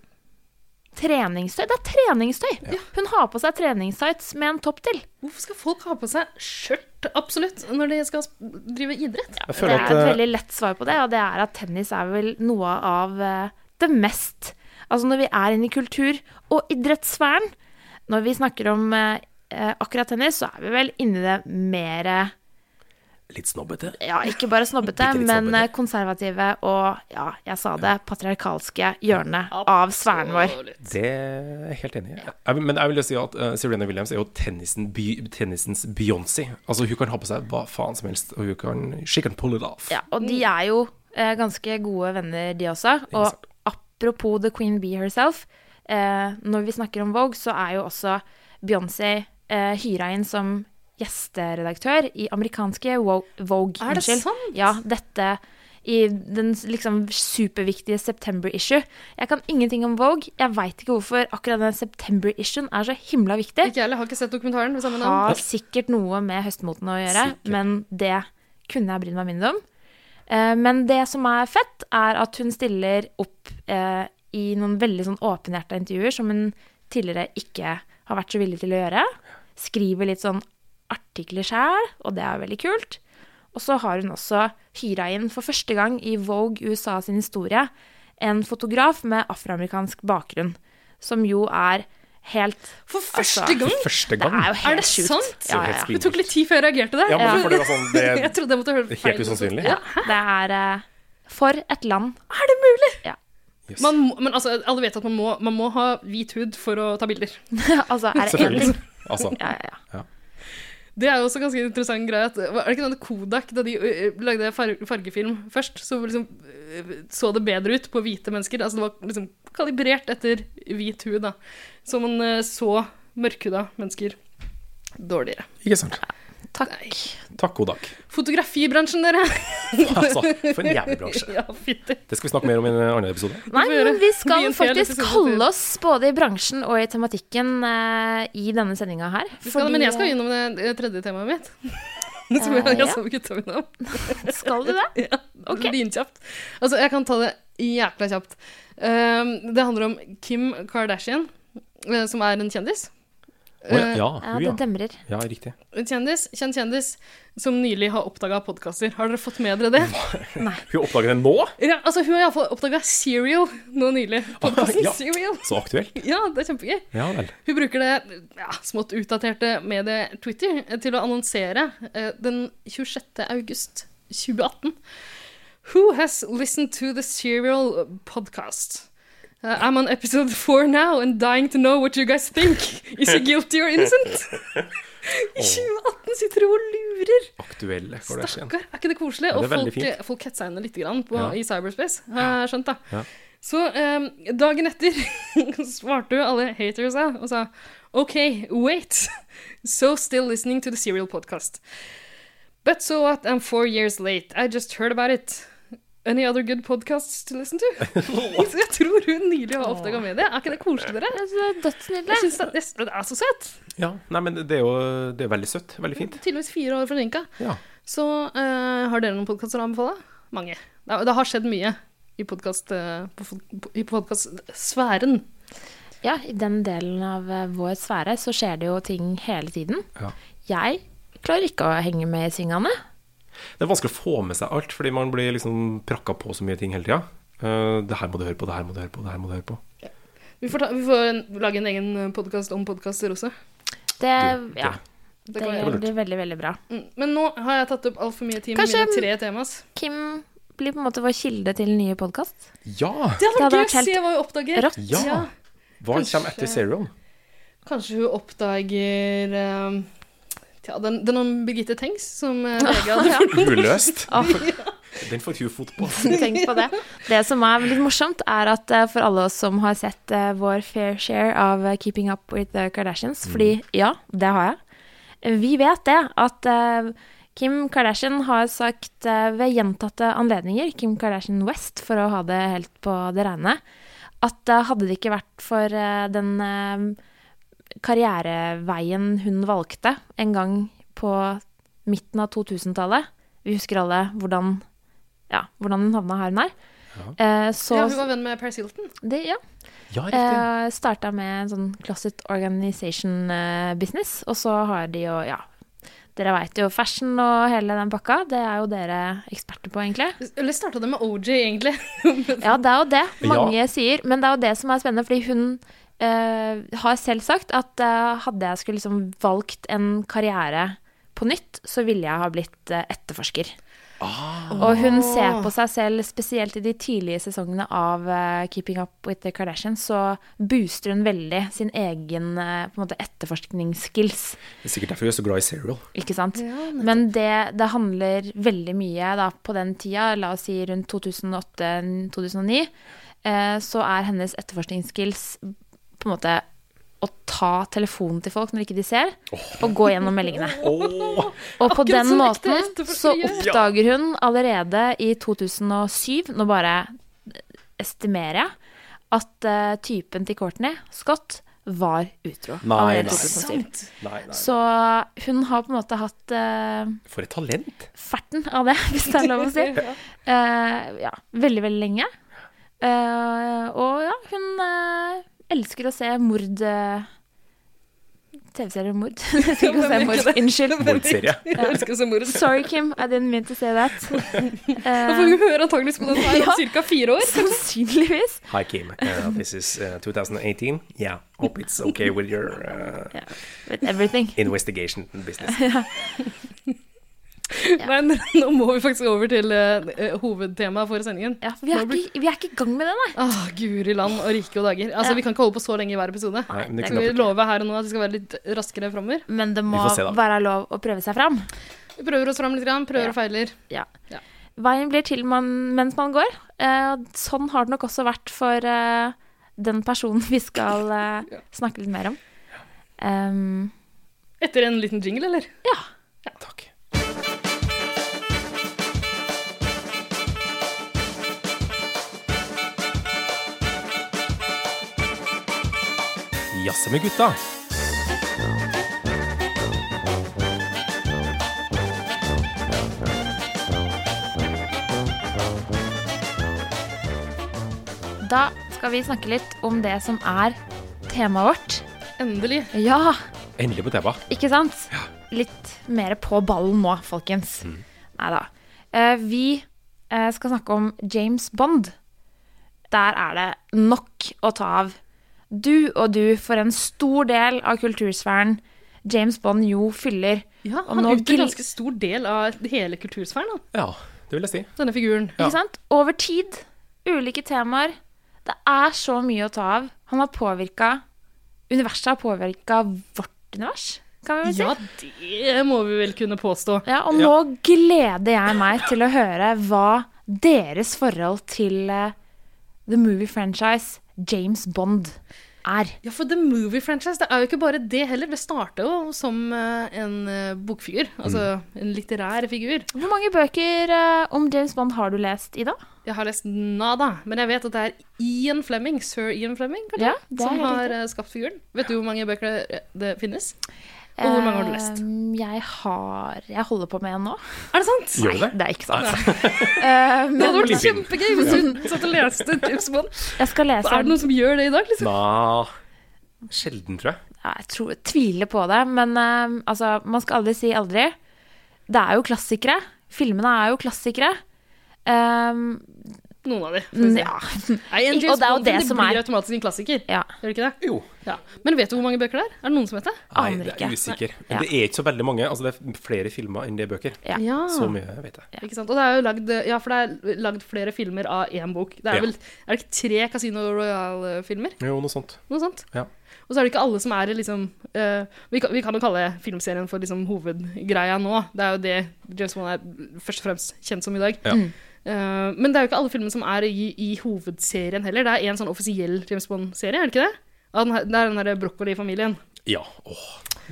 treningstøy. Det er treningstøy! Hun har på seg treningstights med en topp til.
Hvorfor skal folk ha på seg skjørt, absolutt, når de skal sp- drive idrett?
Jeg
Det
føler
er et
at eh,
veldig lett svar på det, og det er at tennis er vel noe av eh, det mest Altså når vi er inne i kultur- og idrettssfæren, når vi snakker om eh, eh, akkurat tennis, så er vi vel inne i det mer eh,
Litt snobbete.
Ja, ikke bare snobbete,
Bitte litt
men
snobbete.
eh, konservative og, ja, jeg sa det, patriarkalske hjørnet av sfæren vår.
Det er jeg helt enig i. Jeg vil- Men jeg vil jo si at eh, Serena Williams er jo tennisen, by, tennisens Beyoncé. Altså, hun kan ha på seg hva faen som helst, og hun kan She can pull it off.
Ja, og
Mm.
de er jo eh, ganske gode venner, de også.
sant.
Og apropos The Queen Bee herself, eh, når vi snakker om Vogue, så er jo også Beyoncé eh, hyra inn som gjesteredaktør i amerikanske Wo- Vogue.
Er det
unnskyld.
sant?
Ja, dette i den liksom superviktige september-issue. Jeg kan ingenting om Vogue. Jeg veit ikke hvorfor akkurat den september-issuen er så himla viktig.
Ikke jeg heller, har ikke sett dokumentaren. med samme navn.
Har sikkert noe med høstmoten å gjøre,
Sikkert.
men det kunne jeg brydd meg mindre om. Eh, Men det som er fett, er at hun stiller opp eh, i noen veldig sånn åpenhjerta intervjuer som hun tidligere ikke har vært så villig til å gjøre. Skriver litt sånn artikler sjæl, og det er veldig kult. Og så har hun også hyra inn for første gang i Vogue USA sin historie en fotograf med afroamerikansk bakgrunn, som jo er helt
For første
altså,
gang!
Første
Det
gang.
er jo helt
det
sjukt.
sant?
Ja, ja,
helt
ja.
spinnvilt.
Det tok litt tid før jeg reagerte der.
Ja, men for det var sånn, det-
<laughs> jeg trodde jeg måtte høre feil.
Helt usannsynlig.
Ja.
Det er eh, for et land.
Er det mulig?
Ja. <laughs>
Yes.
Man må, men altså, alle vet at man må, man må ha hvit hud for å ta bilder.
altså, er det én ting
Selvfølgelig. Altså,
ja, ja, ja.
Det er jo også ganske interessant greie. At, var det ikke denne Kodak, da de ø, ø, lagde far fargefilm først, så liksom, ø, så det bedre ut på hvite mennesker? Altså, det var liksom kalibrert etter hvit hud, da. Så man ø, så mørkhuda mennesker dårligere.
ikke sant.
Takk.
Takk,
<laughs>
Kodak.
Fotografibransjen, dere! <laughs>
Altså, for en jævlig bransje.
ja, fytti.
Det skal vi snakke mer om i en annen episode.
Nei,
får
men
gjøre-
vi
bli
skal
en hel
faktisk
episode
kalle oss både i bransjen og i tematikken eh, i denne sendinga her.
Vi skal,
Fordi-
men jeg skal innom det det tredje temaet mitt. <laughs> Som jeg,
Eh, ja.
jeg så gutta mine om.
eh, Skal du det?
<laughs>
Ja,
Ok.
Lynkjapt. Altså, jeg kan ta det jækla kjapt. Um, det handler om Kim Kardashian, eh, som er en kjendis.
Å,
Eh,
ja, ja,
Eh, Ja, det
hun, ja.
demrer.
Ja, riktig.
En kjendis, kjent kjendis, som nylig har oppdaga podkaster. Har dere fått med dere det?
Hun oppdaget det nå?
Ja, altså, hun har iallfall oppdaga Serial nå nylig. Podkasten
Ja.
Serial.
Så aktuelt.
Ja, det er kjempegøy.
Ja vel.
Hun bruker det ja, smått utdaterte mediet Twitter eh, til å annonsere eh, den 26. august 2018. Who has listened to the Serial podcast? Uh, I'm on episode four now and dying to know what you guys think. Is he guilty or innocent? I 2018 sitter hun og lurer.
Aktuelle Kardashian.
Stakkar, er ikke det koselig?
Ja, det er
Og
veldig
folk,
fint.
folk hetsa henne litt grann på,
Ja.
i cyberspace, har jeg skjønt. da.
Ja.
Så eh, dagen etter <laughs> svarte jo alle hatersa og sa OK, wait. So still listening to the serial podcast. But so what, I'm four years late. I just heard about it. Any other good podcasts to listen to?
<laughs>
<laughs> Så jeg tror hun nylig har oppdaga mediet. Er ikke det koselig, dere?
Altså, det er
Jeg
Dødsnydelig.
synes det, jeg synes det er så søtt.
Ja, nei, men det er jo det er veldig søtt. Veldig fint.
Tydeligvis fire år forsinka.
Ja.
Så eh, har dere noen podkaster å anbefale? Mange. Det, det har skjedd mye i eh, podkast... I podkastsfæren.
Ja, i den delen av eh, vår sfære så skjer det jo ting hele tiden.
Ja.
Jeg klarer ikke å henge med i svingene.
Det er vanskelig å få med seg alt, fordi man blir liksom prakka på så mye ting hele tida. Eh, det her må du høre på, det her må du høre på, det her må du høre på.
Vi får, ta, vi får en, lage en egen podkast om podkaster også.
Det,
det-
ja,
Det
det
kan vi gjøre.
blir veldig, veldig bra.
Mm, Men nå har jeg tatt opp altfor mye tid med
Kanskje-
mine tre temaer.
Kim blir på en måte vår kilde til nye podkast.
Ja!
Det hadde
Det hadde
vært gøy
vært
å
helt
se hva hun oppdager.
rått.
Ja!
Ja.
Hva kommer
Kanskje-
etter Serial?
Kanskje hun oppdager eh, ja, den, den om Birgitte Tengs, som eh,
<laughs>
VG hadde
Uløst!
Åh.
Den får Hugh fot på.
Tenk på det. Det som er litt morsomt, er at eh, for alle oss som har sett eh, vår fair share av eh, Keeping Up With The Kardashians, fordi ja, det har jeg, vi vet det at eh, Kim Kardashian har sagt eh, ved gjentatte anledninger, Kim Kardashian West for å ha det helt på det rene, at eh, hadde det ikke vært for eh, den eh, karriereveien hun valgte en gang på midten av 2000-tallet, vi husker alle hvordan ja, hvordan hun havna her hun er. Eh, så
Ja, hun var venn med Paris Hilton.
det, ja.
Ja, riktig.
Eh, starta med en sånn closet organization eh, business, og så har de jo, ja Dere veit jo fashion og hele den pakka. Det er jo dere eksperter på, egentlig.
Eller starta det med OJ, egentlig. <laughs>
<laughs> Ja, det er jo det mange
Ja.
sier. Men det er jo det som er spennende, fordi hun eh, har selv sagt at eh, hadde jeg skulle liksom valgt en karriere på nytt, så ville jeg ha blitt eh, etterforsker. Og hun ser på seg selv, spesielt i de tidlige sesongene av eh, Keeping Up With The Kardashians, så booster hun veldig sin egen eh, på en måte etterforskningsskills.
Det er sikkert derfor jeg er så glad i Serial.
Ikke sant? Men det, det handler veldig mye da, på den tida, la oss si rundt 2008-2009, eh, så er hennes etterforskningsskills på en måte å ta telefonen til folk når ikke de ser, og gå gjennom
<laughs>
meldingene. Og på
Akkurat
den
sånn ekte
måten så
etterforskere.
oppdager hun allerede i 2007, nå bare estimerer jeg, at eh, typen til Courtney, Scott, var utro.
Nei,
allerede i
nei.
2007.
Nei, nei.
Så eh, hun har på en måte hatt eh,
For et talent.
ferten av det, <laughs> hvis det er lov å si. Eh, ja, veldig, veldig lenge. Eh, og ja, hun eh, elsker å se mord eh, TV-serier om mord. <laughs> Jeg elsker ikke å se mord. Unnskyld.
Mordserie.
Jeg elsker å se moro.
Sorry, Kim. I didn't mean to say that. Eh,
Da får vi høre antakeligvis på den
<laughs>
her om ca. fire år.
Sannsynligvis.
Hi, Kim. Uh, this is uh, 2018. Yeah, hope it's okay with your uh,
With everything.
investigation business.
Men <laughs> nå må vi faktisk over til eh, hovedtemaet for sendingen.
Ja, for vi, er ikke, vi er ikke i gang med det, nei.
Åh, guri land og rike og dager. Altså,
Ja.
Vi kan ikke holde på så lenge i hver episode.
Nei, men det
Så vi
knapper.
lover her og nå at vi skal være litt raskere framover.
Men det
Vi
må
får se, da.
være lov å prøve seg fram.
Vi prøver oss fram litt, grann, prøver
Ja.
og feiler.
Ja.
Ja.
Veien blir til man, mens man går. Eh, og sånn har det nok også vært for eh, den personen <laughs> vi skal eh, snakke litt mer om. Ehm,
Etter en liten jingle, eller?
ja.
Takk. Jazze med gutta.
Da skal vi snakke litt om det som er temaet vårt.
Endelig.
Ja,
Endelig på TV.
ikke sant? Litt mer på ballen nå, folkens. Nei da. Eh, vi eh, skal snakke om James Bond. Der er det nok å ta av. Du og du for en stor del av kultursfæren James Bond jo fyller.
Ja,
Og
Han
nå
utgjør
gl-
ganske stor del av hele kultursfæren, han,
Ja, det vil jeg si.
denne figuren.
Ja.
Ikke sant? Over tid. Ulike temaer. Det er så mye å ta av. Han har påvirka Universet har påvirka vårt univers, kan vi vel si.
Ja, det må vi vel kunne påstå.
Ja, og nå gleder jeg meg til å høre hva deres forhold til eh, the movie franchise James Bond er.
Ja, for The Movie Franchise, det er jo ikke bare det heller. Det starta jo som eh, en eh, bokfigur. Altså en litterær figur.
Hvor mange bøker eh, om James Bond har du lest, Ida?
Jeg har lest Nada, men jeg vet at det er Ian Fleming, sir Ian Fleming, kanskje,
Ja, det er
som
helt
har
riktig.
eh, skapt figuren. Vet du hvor mange bøker det, det finnes? Og hvor mange har du lest?
Eh, Jeg har Jeg holder på med en nå.
Er det sant?
Gjør du det?
<laughs> Det er ikke sant. Eh,
Det hadde
men
vært
Liten.
kjempegøy hvis hun satt og leste James Bond.
jeg skal lese
Er det noen som gjør det i dag, liksom?
Nja Sjelden, tror jeg.
ja, jeg tror, tviler på det, men eh, altså, man skal aldri si aldri. Det er jo klassikere. Filmene er jo klassikere. Ehm,
Noen av de. får vi se.
ja. <laughs>
Nei, en
Og
James
det er jo
Bond
det
Mm. det
som
blir
er-
automatisk en klassiker.
ja.
Gjør det ikke det?
Jo.
Ja. Men vet du hvor mange bøker det er? Er det noen som vet det?
Nei,
Aner
det
ikke.
er usikker.
Ja.
Men det er ikke så veldig mange. Altså, det er flere filmer enn det er bøker.
Ja.
Så mye vet jeg.
Ikke sant? Og det er jo lagd, ja, for det er lagd flere filmer av én bok. Det
Ja.
er vel er det ikke tre Casino Royal-filmer?
Jo, noe sånt.
Noe sånt.
Ja.
Og så er det ikke alle som er i liksom eh, vi, kan, vi kan jo kalle filmserien for liksom hovedgreia nå. Det er jo det James Bond er først og fremst kjent som i dag.
Ja. Mm.
Eh, men det er jo ikke alle filmene som er i, i hovedserien heller. Det er en sånn offisiell James Bond-serie, er det ikke det? Ja, den her- Det er den derre broccoli-familien.
Ja. Åh,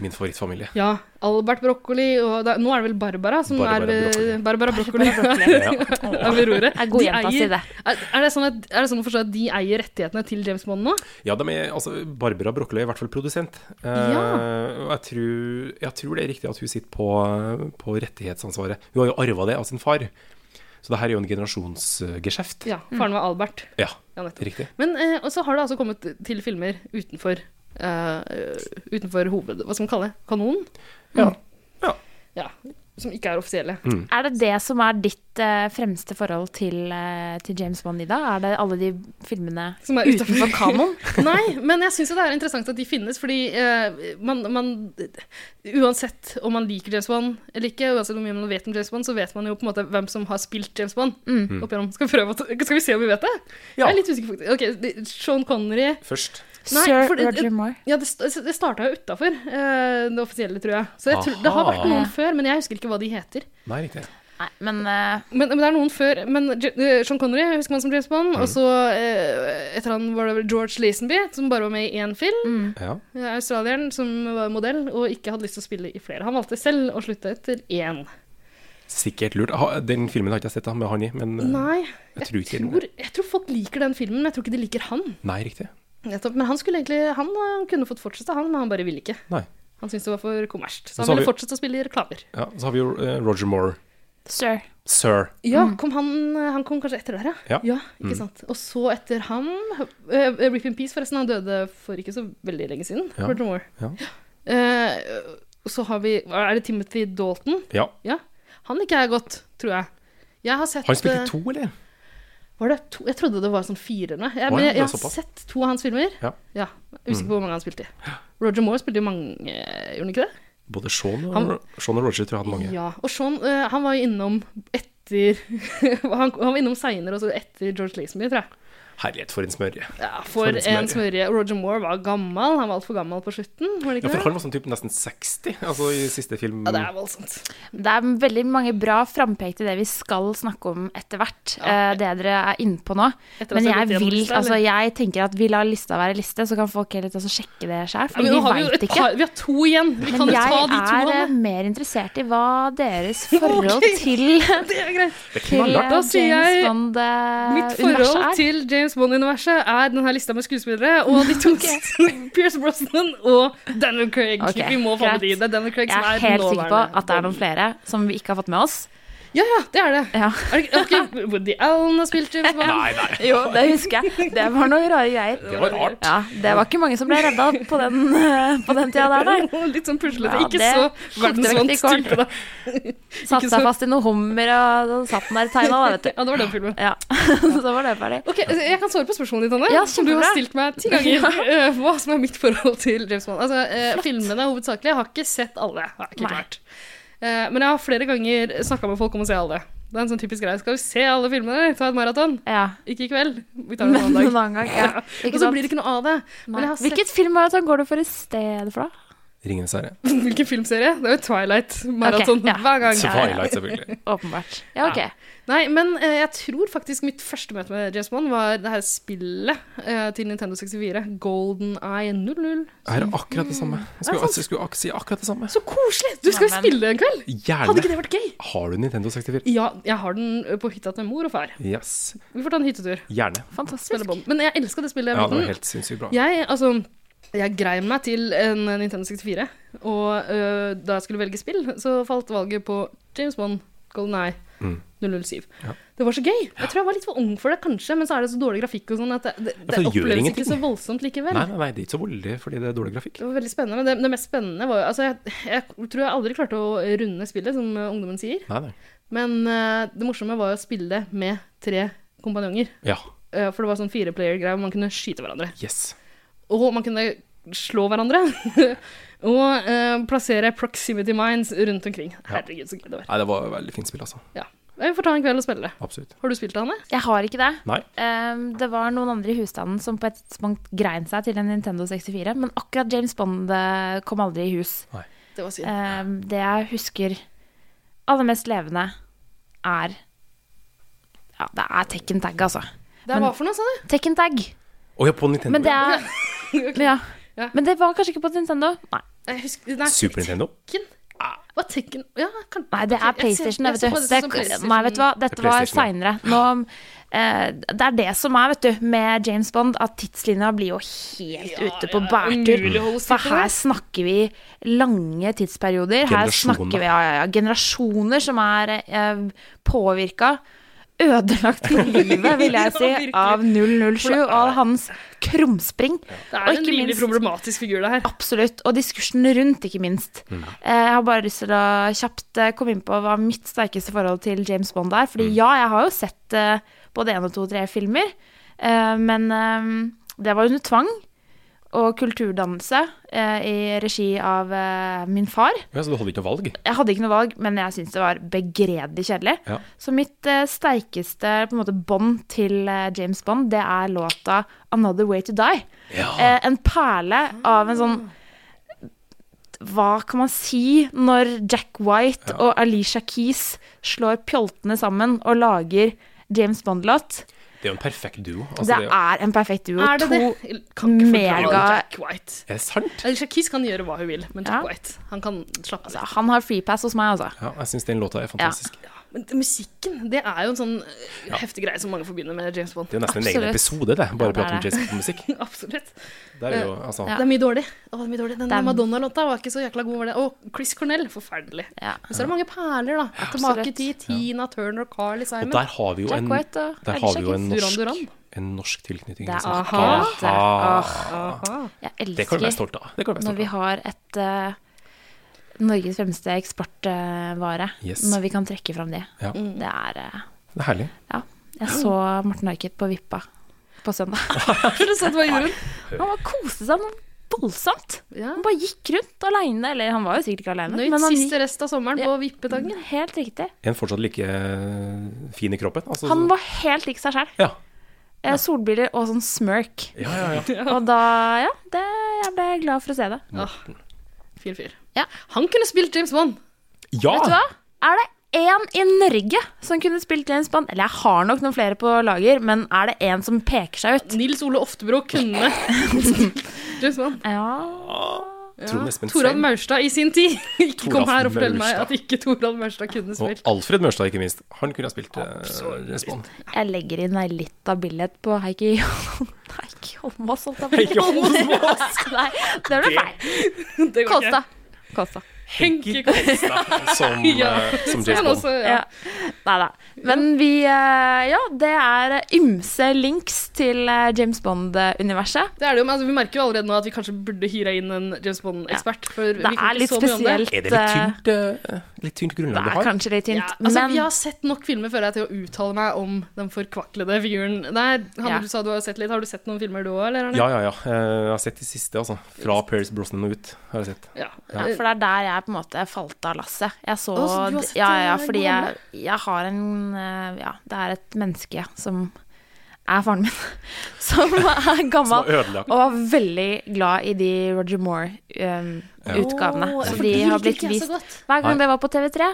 min favorittfamilie.
Ja, Albert Broccoli, og da, nå er det vel Barbara som
Barbara
er ved
Broccoli.
Barbara Broccoli. <laughs>
<laughs>
Ja.
er ved roret.
Jeg er god
De
jenta,
eier-
si det.
Er, er, det sånn at, er det sånn å forstå at de eier rettighetene til James Bond nå?
Ja, de er, altså, Barbara Broccoli er i hvert fall produsent. Eh, og jeg tror, jeg tror det er riktig at hun sitter på, på rettighetsansvaret. Hun har jo arva det av sin far, så det her er jo en generasjonsgeskjeft.
Ja, faren var Albert.
Ja,
Ja,
det er
nettopp.
riktig.
Men eh, og så har det altså kommet til filmer utenfor, eh, utenfor hoved... Hva skal man kalle det? Kanonen?
Ja. Ja. Mm.
Ja, Som ikke er offisielle.
Er det det som er ditt eh, fremste forhold til, eh, til James Bond i dag? Er det alle de filmene
Som er utenfor-
utenfor kanon?
<laughs> Nei, men jeg syns det er interessant at de finnes, fordi eh, man, man Uansett om man liker James Bond eller ikke, uansett hvor mye man vet om James Bond, så vet man jo på en måte hvem som har spilt James Bond.
Mm.
Opp igjennom. Skal, vi prøve, å ta- skal vi se om vi vet det?
Ja.
Jeg er litt usikker, faktisk. Ok, det- Sean Connery
Først.
Nei,
Sir
for det-
Roger Moore.
Ja, det, st- det starta jo utafor det offisielle, tror jeg. Så jeg tror, det har vært
Aha.
noen før, men jeg husker ikke hva de heter.
Nei, riktig.
Nei, men eh,
Men, men det er noen før men J- eh, Sean Connery husker man som James Bond.
Mm.
Og så eh, etter han var det vel George Lazenby, som bare var med i én film.
Ja.
Eh, Australieren som var modell og ikke hadde lyst til å spille i flere. Han valgte selv å slutte etter én.
Sikkert lurt. Ha, den filmen har ikke jeg sett da, med han i, men eh,
Nei,
jeg tror ikke
tror, jeg tror folk liker den filmen, men jeg tror ikke de liker han.
Nei, riktig.
Nettopp, men han skulle egentlig Han eh, kunne fått fortsette, han, men han bare ville ikke.
Nei.
Han syntes det var for kommersielt. Så
Men
han
så har
ville
vi-
fortsette å spille i reklamer.
Ja, så har vi jo eh, Roger Moore.
sir.
Sir.
Ja, kom han, han kom kanskje etter der,
Mm. Ja. Mm.
ikke sant. Og så etter ham eh, Rip in Peace, forresten. Han døde for ikke så veldig lenge siden.
Ja.
Roger Moore.
Ja.
Eh, og så har vi Er det Timothy Dalton?
Ja.
Ja. Han liker jeg godt, tror jeg. Jeg har sett
Han spilte
eh,
to, eller?
Var det to? Jeg trodde det var sånn fire. Nei. Jeg,
Å
men
ja, det er
jeg, jeg har
såpass.
sett to av hans filmer.
Ja. Mm.
jeg er Usikker på hvor mange han spilte i. Roger Moore spilte jo mange, eh, gjorde han ikke det?
Både Sean og,
Han-
Sean og Roger tror jeg hadde mange.
Ja, og Sean, eh, han var jo innom etter <laughs> Han, han var innom seinere, og så etter George Lazenby, tror jeg.
Herlighet, for en smørje.
Ja, for,
For en smørje.
en smørje. Og Roger Moore var gammel. Han var altfor gammel på slutten, var det
Ja,
ikke
for
det?
han var sånn typ nesten 60, altså i siste film.
Ja, det er voldsomt.
Det er veldig mange bra frampek til det vi skal snakke om etter hvert. eh, det dere er inne på nå.
Etter at
Men
vi har
jeg
gått gjennom
vil,
lista, eller?
altså jeg tenker at vi lar lista være liste, så kan folk heller ta og sjekke det sjøl.
Ja,
For
men nå har
vi
vi, jo
veit
et
ikke.
par, vi har to igjen. Vi kan
Men
jo ta
jeg
de to.
er eh,
Anne.
mer interessert i hva deres
<laughs>
forhold
Ok.
til,
Det er greit.
til eh,
Da sier jeg-
James
Mitt forhold
Bond-universet eh, er.
til James Bond-universet er denne lista med skuespillere og de
<laughs>
to <laughs> Pierce Brosnan og Daniel Craig.
Ok,
vi må få med de.
greit.
Det er Daniel Craig
Jeg er
som er
helt sikker på
nåværende
at det er noen flere som vi ikke har fått med oss.
Ja, ja, det er det.
Ja.
Er det ikke- ok, Woody Allen har spilt
<laughs>
James Bond.
Nei, nei.
<laughs> Jo, det husker jeg. Det var noen rare greier.
Det var rart.
Ja, det var ikke mange som ble redda på den, <laughs> eh, på den tida der, nei.
<laughs> Litt sånn puslete.
Ja,
ikke
det
så
kokte
verdensvant
vekk i kålen.
type, da.
Satt
Ikke
seg
så-
fast i noe hummer og og satt den der tegna, da, vet du.
Ja, det var den filmen.
Ja, <laughs> så var det ferdig.
Ok, altså, Jeg kan svare på spørsmålet ditt, Anne.
Ja,
som du har
kjempebra.
stilt meg ti ganger.
<laughs>
eh, Hva som er mitt forhold til James Bond. Altså, eh, filmene hovedsakelig. Jeg har ikke sett alle. Har jeg ikke
Nei.
klart. Eh, men jeg har flere ganger snakka med folk om å se alle. Det er en sånn typisk greie. Skal vi se alle filmene? Ta et maraton?
Ja,
Ikke i kveld. Vi tar det
men <laughs>
en
en
annen dag.
annen gang. Ja.
Og
Ikke
så
sant?
blir det ikke noe av det. Men jeg
Nei.
har sett
Hvilket filmmaraton går du for i stedet for, da?
Ringenes herre.
<laughs> Hvilken filmserie? Det er jo Twilight-maraton
Ok, ja.
hver gang.
Ja, ja, ja.
Twilight, selvfølgelig.
Åpenbart. Ja, ok.
Nei, men eh, jeg tror faktisk mitt første møte med James Bond var det her spillet eh, til Nintendo 64. Golden Eye 00.
Her er akkurat det samme. Jeg skulle, jeg skulle ak si akkurat det samme.
Så koselig! Du skal jo
Neimen.
spille en kveld! Hadde ikke
Gjerne.
det vært gøy?
Har du Nintendo 64?
Ja, jeg har den eh, på hytta til mor og far.
Yes.
Vi får ta en hyttetur.
Gjerne.
Spille
Fantastisk.
Bond. Men jeg elska det spillet.
Ja, det var
Mm.
helt sinnssykt bra.
Jeg, altså, jeg grein meg til en Nintendo 64, og øh, da jeg skulle velge spill, så falt valget på James Bond, Golden Eye,
Mm.
007. Det var så gøy. Jeg tror jeg var litt for ung for det, kanskje, men så er det så dårlig grafikk og sånn at det, det,
Ja,
det
for det Altså, gjør
oppleves
ingenting.
ikke så voldsomt likevel.
Nei, nei, nei, det er ikke så voldelig fordi det er dårlig grafikk.
Det var veldig spennende, men det, det mest spennende var jo Altså, jeg, jeg tror jeg aldri klarte å runde spillet, som øh, ungdommen sier,
Nei, nei.
men øh, det morsomme var jo å spille det med tre kompanjonger.
Ja.
Øh, for det var sånn fireplayer-greie hvor man kunne skyte hverandre.
Yes.
Og man kunne slå hverandre. <laughs> og eh, plassere proximity mines rundt omkring. Herregud, så gøy det var.
Nei, det var et veldig fint spill, altså.
Ja. Vi får ta en kveld og spille det.
Absolutt.
Har du spilt det, Hanne?
Jeg har ikke det.
Nei.
Ehm, det var noen andre i husstanden som på et tidspunkt grein seg til en Nintendo 64, men akkurat James Bond eh, kom aldri i hus.
Det var synd.
Ehm, det jeg husker aller mest levende, er Ja, det er Tekken Tag, altså.
Det var for noe, sa du?
Tekken Tag.
Å ja, på Nintendo.
Men det er
<laughs> Ok.
ja.
Ja.
Men det var kanskje ikke på Nintendo? Nei.
Jeg husker Nei,
Super Nintendo.
Tekken. Hva Tekken Ja, kan
Nei, det er
ok, jeg ser-
PlayStation,
jeg
vet
ser
du.
på det
Det,
som PlayStation.
nei, vet du hva, dette
Det er
var
PlayStation,
seinere. Nå eh, Det er det som er, vet du, med James Bond, at tidslinja blir jo helt ute på
ja,
bærtur.
umulig å holde styr
For
på
her
det.
snakker vi lange tidsperioder. Her
Generasjoner.
snakker vi ja, ja, ja, generasjoner som er eh, påvirka. Ødelagt
<laughs>
for livet, vil jeg si,
Ja, virkelig.
av 007 og all hans krumspring.
Det
Og
er en
ikke
livlig
minst-
problematisk figur, det her.
Absolutt. Og diskursen rundt, ikke minst. Eh, Jeg har bare lyst til å kjapt eh, komme inn på hva mitt sterkeste forhold til James Bond er. Fordi ja, jeg har jo sett eh, både én og to og tre filmer, eh, men eh, det var under tvang. Og kulturdannelse eh, i regi av eh, min far.
Ja, så du hadde ikke noe valg?
Jeg hadde ikke noe valg, men jeg syntes det var begredelig kjedelig.
Ja.
Så mitt eh, sterkeste på en måte, bånd til eh, James Bond, det er låta 'Another Way To Die'.
Ja.
Eh, en perle av en sånn hva kan man si når Jack White og Alicia Keys slår pjoltene sammen og lager James Bond-låt?
Det er jo en perfekt duo.
det,
Altså, det er, jo-
er en perfekt duo.
Er det det?
to,
Jeg Kan ikke forklare
mega-
Jack White.
er det sant?
Alicia Keys kan gjøre hva hun vil, men
Ja.
Jack White han kan slappe av.
altså, Han har freepass hos meg, altså.
Ja, jeg syns den låta er fantastisk.
Men det- musikken det er jo en sånn eh, heftig greie som mange forbinder med James Bond.
Det er jo nesten en egen
Absolutt.
episode, det. Bare
Ja, det er
prat om
det.
Jason musikk
<laughs> Absolutt.
Der er jo, altså,
<laughs> Ja.
Det er mye dårlig. Å, det er mye dårlig. Den
Det er-
Madonna-låta var ikke så jækla god. Var det. Og Chris Cornell, forferdelig.
Ja.
Men så er det mange perler, da. Tilbake
Absolutt.
til Tina Turner, Carly
Og
Simon. <laughs>
der har vi jo
Jack
en,
White og
der har
Alicia
vi jo en
Keys.
Duran
norsk,
Duran.
en norsk tilknytning.
Det er
liksom.
akkurat det.
Aha.
Jeg
Det kan du være
elsker
stolt av. Det kan du være
når vi
stolt av.
har et eh, Norges fremste eksportvare.
Yes.
Når vi kan trekke fram det.
Ja.
Mm.
Det er eh,
Det er herlig.
Ja. Jeg så Morten Harket på Vippa på
<laughs>
søndag. <laughs>
Har du sett hva gjorde hun?
Han var koste seg noe voldsomt.
Ja.
Han bare gikk rundt aleine. Eller han var jo sikkert ikke aleine,
Nøyt
men han
siste rest av sommeren på Vippetangen.
gikk helt riktig.
Er han fortsatt like eh, fin i kroppen? Altså,
Han var helt lik seg sjæl.
ja.
Eh, Solbriller og sånn smirk.
ja, ja, ja.
Og da, ja, det, jeg ble glad for å se det.
Ah, Fin fyr.
Ja.
Han kunne spilt James Bond.
Vet du
ja.
hva? Er det én i Norge som kunne spilt James Bond? Eller jeg har nok noen flere på lager, men er det én som peker seg ut?
Nils Ole Oftebro
<laughs>
kunne spilt James Bond.
Ja,
Trond Espen
Torald
Seim.
Maurstad i sin tid. <laughs> Ikke kom
Toralf
her og fortell meg
Maurstad.
at ikke Torald Maurstad kunne spilt.
Og Alfred Mørstad, ikke minst. Han kunne ha spilt eh, Respond.
jeg legger inn ei lita billett på Heikki <laughs> Heikki Holmås, holdt jeg på å si.
Ikke Holmås!
<laughs> Nei, det ble feil.
Det går ikke.
Kolstad. Kolstad.
Henke Kolstad. <laughs>
Som,
Ja.
eh, som James
Ja,
Bond.
altså, ja.
Ja. Nei da. Men vi eh, Ja, det er ymse links til eh, James Bond-universet.
Det er det jo, men altså, Vi merker jo allerede nå at vi kanskje burde hyre inn en James Bond-ekspert. for vi
Det
kan ikke
er litt
så mye om det.
spesielt.
Er det litt tynt, eh, litt tynt
Det
grunnlag
er
det har?
kanskje litt tynt,
Ja, altså,
men
Vi har sett nok filmer før jeg til å uttale meg om den forkvaklede figuren der. Hanne,
Ja.
du sa du har sett litt. Har du sett noen filmer du òg, eller? Arne?
Ja, ja, ja. Eh, Jeg har sett de siste, altså. Fra Paris Brosnan og ut. har jeg sett.
Ja.
ja, For det er der jeg på en måte falt av lasset. Jeg så
Å, så du har sett
Ja, ja,
den
fordi
gamle?
jeg, jeg har en eh, Ja, det er et menneske som er faren min, <laughs> som er
Som
gammel.
har ødelagt
Og var veldig glad i de Roger Moore-utgavene.
Å, ja,
så
for
de
de
har
liker
blitt
ikke jeg så
vist
godt.
Hver gang
Nei.
det var på TV3,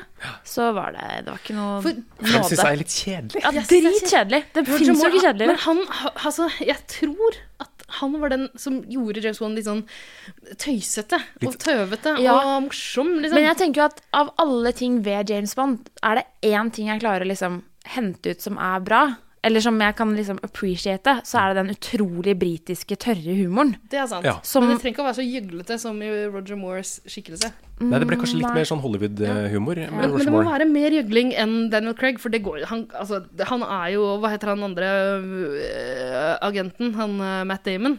så var det Det var ikke noe
For-
Hvem syns
nåde.
jeg er litt kjedelig?
Ja,
Jeg synes det er
dritkjedelig. Det
Roger
fins jo
Moore,
ikke
han- Men
kjedeligere.
han, ha- altså, jeg tror at han var den som gjorde James Bond litt sånn tøysete og
Litt-
tøvete
Ja.
og morsom, liksom.
Men sånn- jeg tenker jo at av alle ting ved James Bond, er det én ting jeg klarer å liksom hente ut som er bra, eller som jeg kan liksom appreciate, så er det den utrolig britiske, tørre humoren.
det er sant.
Ja.
Som-
Men det trenger ikke å være så gjøglete som i Roger Moores skikkelse.
Nei, det ble kanskje
Mm,
litt mer sånn Hollywood-humor. med
Men, men det må
Rushmore.
være mer gjøgling enn Daniel Craig, for det går jo han, altså, det- han er jo Hva heter han andre øh, agenten? Han øh, Matt Damon?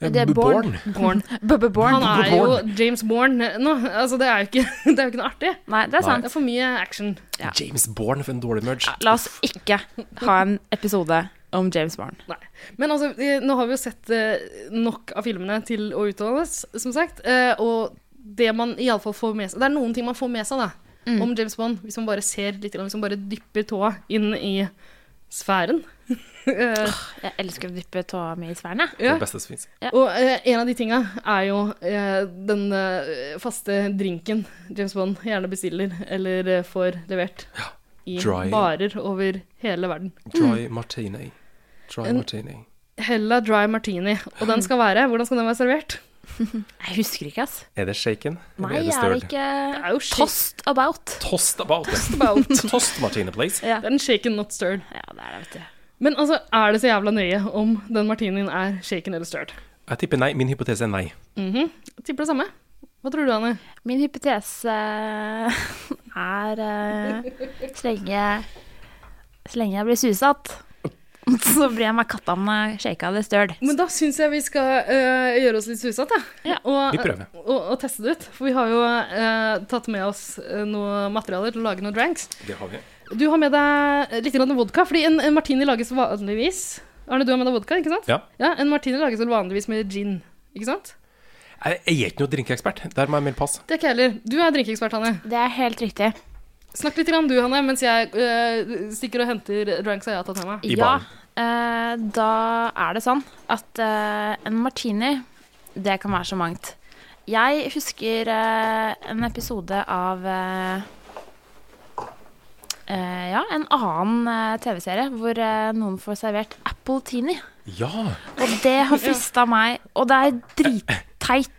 Ja,
Det er
Born.
Born.
Bourne.
Bubbe Born.
Han er jo James Bourne nå. Altså, det er jo ikke, <laughs> det er jo ikke noe artig.
Nei, det er
Det
sant.
er for mye action.
Ja.
James Born for en dårlig merge.
La oss ikke ha en episode om James Barn.
Nei. Men altså, eh, nå har vi jo sett eh, nok av filmene til å uttale oss, som sagt. Eh, og det man iallfall får med seg Det er noen ting man får med seg da,
Mm.
om James Bond, hvis man bare ser litt, grann, hvis man bare dypper tåa inn i sfæren. <laughs> Eh,
Jeg elsker å dyppe tåa mi i sfæren, jeg.
Det
ja.
beste som fins.
Og eh, en av de tinga er jo eh, den eh, faste drinken James Bond gjerne bestiller eller eh, får levert i
Dry.
barer over hele verden.
Dry martini. Dry
Mm. En-
martini.
Hella dry martini. Og
Mm.
den skal være Hvordan skal den være servert?
Jeg husker ikke, ass.
Er det shaken? eller
Nei, er
stirred?
det ikke
er jo shit.
Tossed about.
Toast about it.
About.
<laughs> Toast martini, please.
Ja.
Det er en shaken, not stirred.
Ja, det er det, vet du.
Men altså, er det så jævla nøye om den martinien er shaken eller stirred?
Jeg tipper nei. Min hypotese er nei.
Mhm. Jeg Tipper det samme. Hva tror du, Anne?
Min hypotese eh, <laughs> er eh, så, lenge, så lenge jeg blir susatt, <laughs> så blir jeg meg kattene shaka eller støl.
Men da syns jeg vi skal øh, gjøre oss litt susete.
Ja,
og,
vi prøver.
Og, og teste det ut. For vi har jo øh, tatt med oss øh, noe materialer til å lage noen dranks.
Det har vi.
Du har med deg litt grann vodka, fordi en, en martini lages vanligvis Arne, du har med deg vodka, ikke sant?
Ja.
En martini lages vel vanligvis med gin, ikke sant?
Jeg jeg er ikke noe drinkeekspert. Der må jeg melde pass.
Det er ikke jeg heller. Du er drinkeekspert, Hanne.
Det er helt riktig.
Snakk litt grann du, Hanne, mens jeg øh, stikker og henter dranksa jeg har tatt med meg.
I
ja,
baren.
eh, da er det sånn at eh, en martini, det kan være så mangt. Jeg husker eh, en episode av eh, eh, Ja, en annen eh, TV-serie hvor eh, noen får servert apple teenie.
Ja!
Og det har frista meg. Og det er dritteit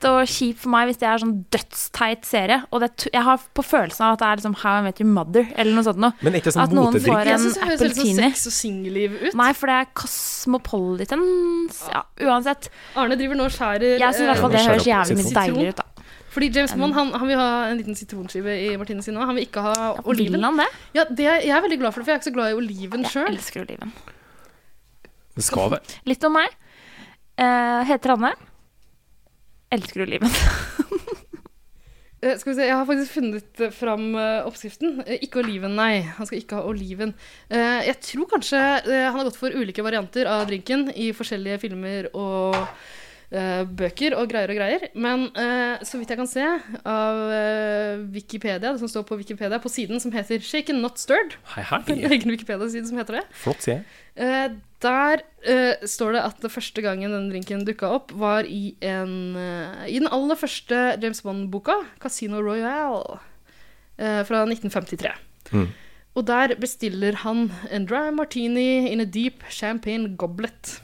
og kjipt for meg hvis det er sånn dødsteit serie. Og det, er tu- jeg har på følelsen av at det er liksom How I Met Your Mother eller noe sånt noe.
Men er ikke det sånn
At noen
motedrikk?
får
Jeg
en
syns det høres
apple
veldig sånn
teenie.
sex- og singelliv ut.
Nei, for det er Cosmopolitans Ja, uansett.
Arne driver nå og skjærer
Jeg syns i
eh,
hvert fall Um, det
Skjær
høres
opp
jævlig mye
sitron.
deiligere ut, da.
Fordi James Bond han, han vil ha en liten sitronskive i Martine sin nå. Han vil ikke ha
Vil
oliven.
han det?
Ja, det er, jeg er veldig glad for det, for jeg er ikke så glad i oliven
Jeg
sjøl.
elsker oliven.
Det skal være
Litt om meg. Eh, heter Hanne. Elsker du livet?
Eh, Skal vi se, Jeg har faktisk funnet eh, fram eh, oppskriften. Eh, Ikke oliven, nei. Han skal ikke ha oliven. Eh, Jeg tror kanskje eh, han har gått for ulike varianter av drinken i forskjellige filmer og eh, bøker og greier og greier. Men eh, så vidt jeg kan se av eh, Wikipedia, det som står på Wikipedia, på siden som heter Shaken Not Stirred, <laughs>
Hei,
en
hei.
egen Wikipedia-side som heter det,
Flott, sier jeg.
Eh, der eh, står det at det første gangen den drinken dukka opp, var i, en, eh, i den aller første James Bond-boka, 'Casino Royale', eh, fra 1953.
Mm.
Og der bestiller han en dry martini in a deep champagne goblet.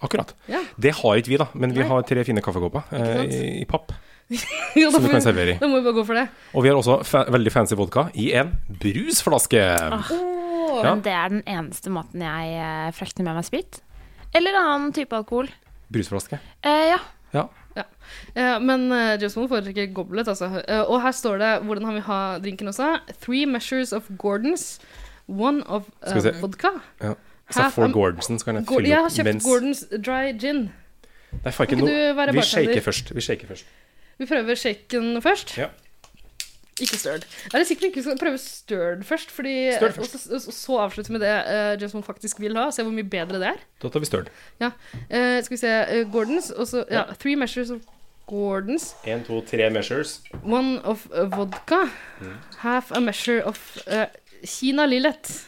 Akkurat. <laughs>
Ja.
Det har ikke vi, da. Men vi
Nei.
har tre fine kaffekopper eh,
sant?
i, i papp
Ja, da,
som du
får
kan
vi,
servere i.
da må vi bare gå for det.
Og vi har også fa veldig fancy vodka i en brusflaske.
Ah.
Ja.
Men det er den eneste måten jeg eh, frakter med meg sprit. Eller annen type alkohol.
Brusflaske.
Eh, ja.
Ja.
Eh, men eh, James Bond foretrekker goblet, altså. Eh, og her står det hvordan han vil ha drinken også. Three measures of Gordons. One of eh,
Skal vi se.
vodka.
ja. Så
Half
får
am-
Gordonsen, så kan jeg
Gor jeg
fylle
har
opp
kjøpt
mens
Gordons dry gin.
Nei, farken,
Kan ikke
nå-
du være
Vi
bartender?
shaker først. Vi shaker først.
Vi prøver shaken først.
Ja.
Ikke stirred. Er det sikkert ikke vi skal prøve stirred først? Fordi,
Stirred først.
Og så, og så avslutte med det uh, James Bond faktisk vil ha, og se hvor mye bedre det er.
Da tar vi støl.
Ja. Eh, skal vi se eh, Gordons, og så ja, Three measures of Gordons.
Én, to, tre measures.
One of eh, vodka.
Mm.
Half a measure of eh, Kina Lillet.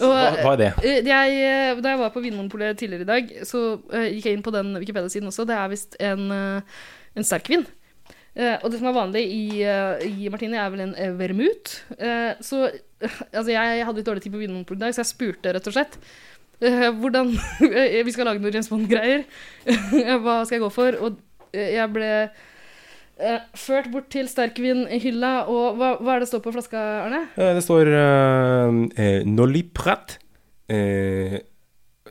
Og,
Hva, hva er det?
Eh, Jeg, eh, da jeg var på Vinmonopolet tidligere i dag, så eh, gikk jeg inn på den Wikipedia-siden også. Det er visst en, eh, en sterkvin. Eh, og det som er vanlig i, eh, i Martini, er vel en eh, vermut. Eh, så <laughs> eh, altså, jeg hadde litt dårlig tid på Vinmonopolet i dag, så jeg spurte rett og slett eh, hvordan <laughs> eh, Vi skal lage noen James Bond-greier. <laughs> Hva skal jeg gå for? Og eh, jeg ble eh, ført bort til sterkvinhylla, og hva, hva er det står på flaska, Arne?
Eh, Det står eh, eh, Nolly Prat eh,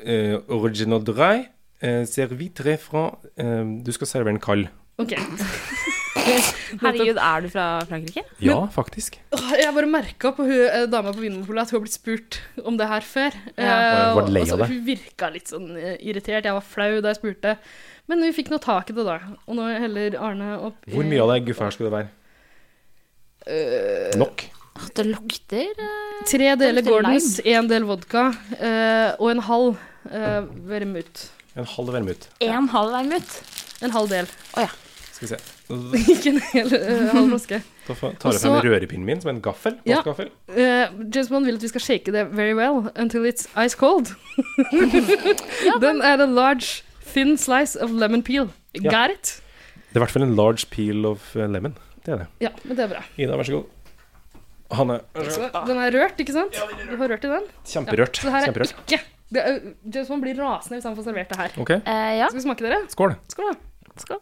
eh, Original Dry eh, Servitre fra eh, Du skal servere en kald.
Ok.
Herregud, er du fra Frankrike?
Ja, faktisk.
Åh, Ah, Jeg bare merka på hun, eh, dama på Vinmonopolet at hun har blitt spurt om det her før.
Ja.
Eh,
Var- var lei
og-
av
altså,
det?
hun virka litt sånn eh, irritert. Jeg var flau da jeg spurte. Men vi fikk nå tak i det, da. Og nå heller Arne opp i
Hvor mye av det guffe her skulle det være?
Eh,
Nok.
At det lukter eh,
Tre deler
Det lukter
Gordons, én del vodka eh, og en halv eh, vermut.
En halv vermut.
en halv vermut.
En halv del. <laughs>
Skal vi se. Da-
Ikke en hel eh, halv flaske.
Da fa- tar jeg
Og så-
frem rørepinnen min som en gaffel.
Ja.
plastgaffel.
Eh, James Bond vil at vi skal shake det very well until it's ice cold. Den er a large, thin slice of lemon peel.
Ja.
Got it?
Det er i hvert fall en large peel of eh, lemon. Det er det.
Ja, men det er bra.
Ida, vær så god. Hanne, vær så god.
Så den er rørt, ikke sant? Du har rørt i den?
Kjemperørt.
Så det her er
Kjemperørt.
ikke det er, James Bond blir rasende hvis han får servert det her.
Ok,
Eh, ja.
Skal vi smake, dere?
skål.
Skål, da.
Skål.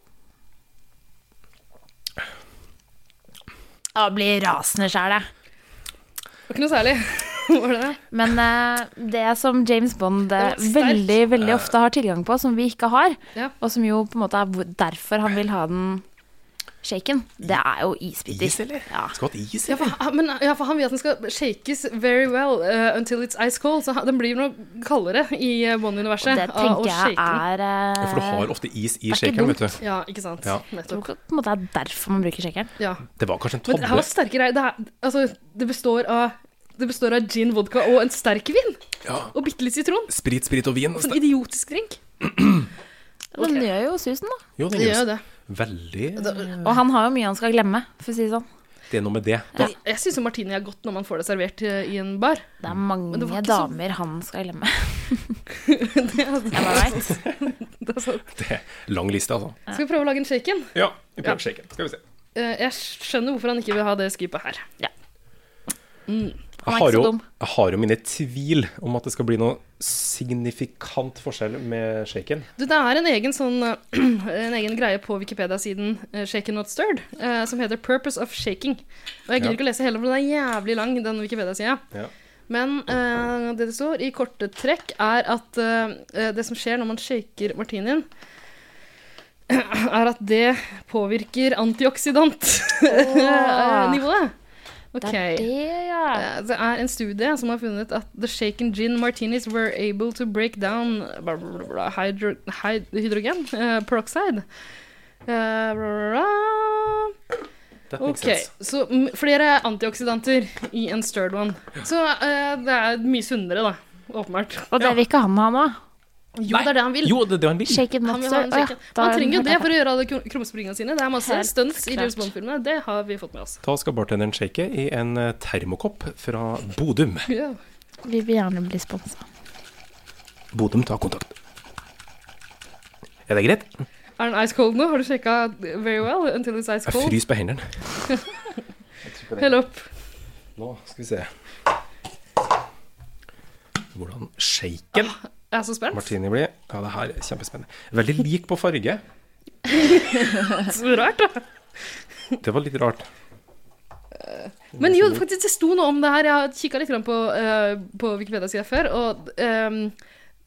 Jeg blir rasende sjæl, jeg.
Det var ikke noe særlig. <laughs> Var det det?
Men eh, det som James Bond eh,
Den var sterk.
veldig veldig ofte har tilgang på, som vi ikke har,
Ja.
og som jo på en måte er hvor- derfor han vil ha den shaken, det er jo isbiter.
Is, eller?
Ja.
Skal vi ha et is?
Ja, for, han- men, ja, for han vil at den skal shakes very well eh, until it's ice cold, så han- den blir noe kaldere i eh,
Og
Bond-universet
det
av å
tenker jeg
shake den.
er eh,
Ja, for du har ofte is i
Det er ikke
shakeren,
dumt.
vet du.
Ja, ikke sant.
Ja.
jeg tror
Nettopp.
ikke på en måte det er derfor man bruker shakeren.
Ja.
Det var kanskje en
Men det her
tabbe.
var sterke greier. Det, er- altså, det består av det består av gin, vodka og en sterk vin.
Ja.
Og bitte litt sitron.
Sprit, sprit og vin.
Sånn idiotisk
<clears throat>
drink.
Men Den gjør jo susen, da.
Jo, det
Det gjør
gjør
jo det.
Veldig
Og han har jo mye han skal glemme, for å si det sånn.
Det er noe med det.
Jeg, jeg syns martini er godt når man får det servert eh, i en bar. <laughs>
Det er mange
det var ikke så-
<laughs> damer han skal glemme.
Det er-
Am I right?
Det er sant.
Det er lang liste, altså.
Skal vi prøve å lage en shaken?
Ja, vi prøver shaken. Skal vi se.
Eh, jeg skjønner hvorfor han ikke vil ha det skrypet her.
Han
Jeg
er ikke
har,
så
jo,
dum.
jeg har jo mine tvil om at det skal bli noe signifikant forskjell med shaken.
Du, det er en egen, sånn, <clears throat> en egen greie på Wikipedia-siden eh, Shaken Not Stirred, eh, som heter Purpose of Shaking. Og
Ja.
jeg gidder ikke å lese hele, for den er jævlig lang, den Wikipedia-sida.
Ja.
Men eh, det det står i korte trekk, er at eh, det som skjer når man shaker martinien, <clears throat> er at det påvirker <laughs> antioksidant-nivået.
eh, Det er det, ja.
Eh, Ah. Det er en studie som har funnet at the shaken gin martinis were able to break down bla, bla, bla, bla, hydro, hyd, hydrogen eh, peroxide. Eh, bla, bla, bla.
That makes
Ok,
sense.
så m- flere antioksidanter i en stirred one. Så eh, det er mye sunnere, da. Åpenbart.
Og det vil ikke han ha nå.
Jo, det er det han vil.
Jo, det er det han vil.
Shake it
Han,
not
vil ha
stirred. Å
en
ja,
shaken.
da
Man
er den
trenger jo det
helt
for å gjøre alle krum- krumspringene sine. Det er masse
Helt
stunts i
klart.
James Bond-filmene. Det har vi fått med oss.
Da skal bartenderen shake i en eh, termokopp fra Bodum.
Ja.
borte. Vi vil gjerne bli sponsa.
Bodum, ta kontakt. Er det greit?
Er den ice cold nå? Har du sjekka very well until it's ice
Jeg
cold?
fryser på hendene.
Hell opp.
Nå skal vi se. Hvordan shaken
Jeg er så spent. <laughs>
martini blir. Ja, det her er kjempespennende. Veldig lik på farge.
Så rart,
<laughs>
da.
Det var litt rart.
Men jo, faktisk, det sto noe om det her. Jeg har kikka litt grann på, eh, på Wikipedia-sida før, og ehm,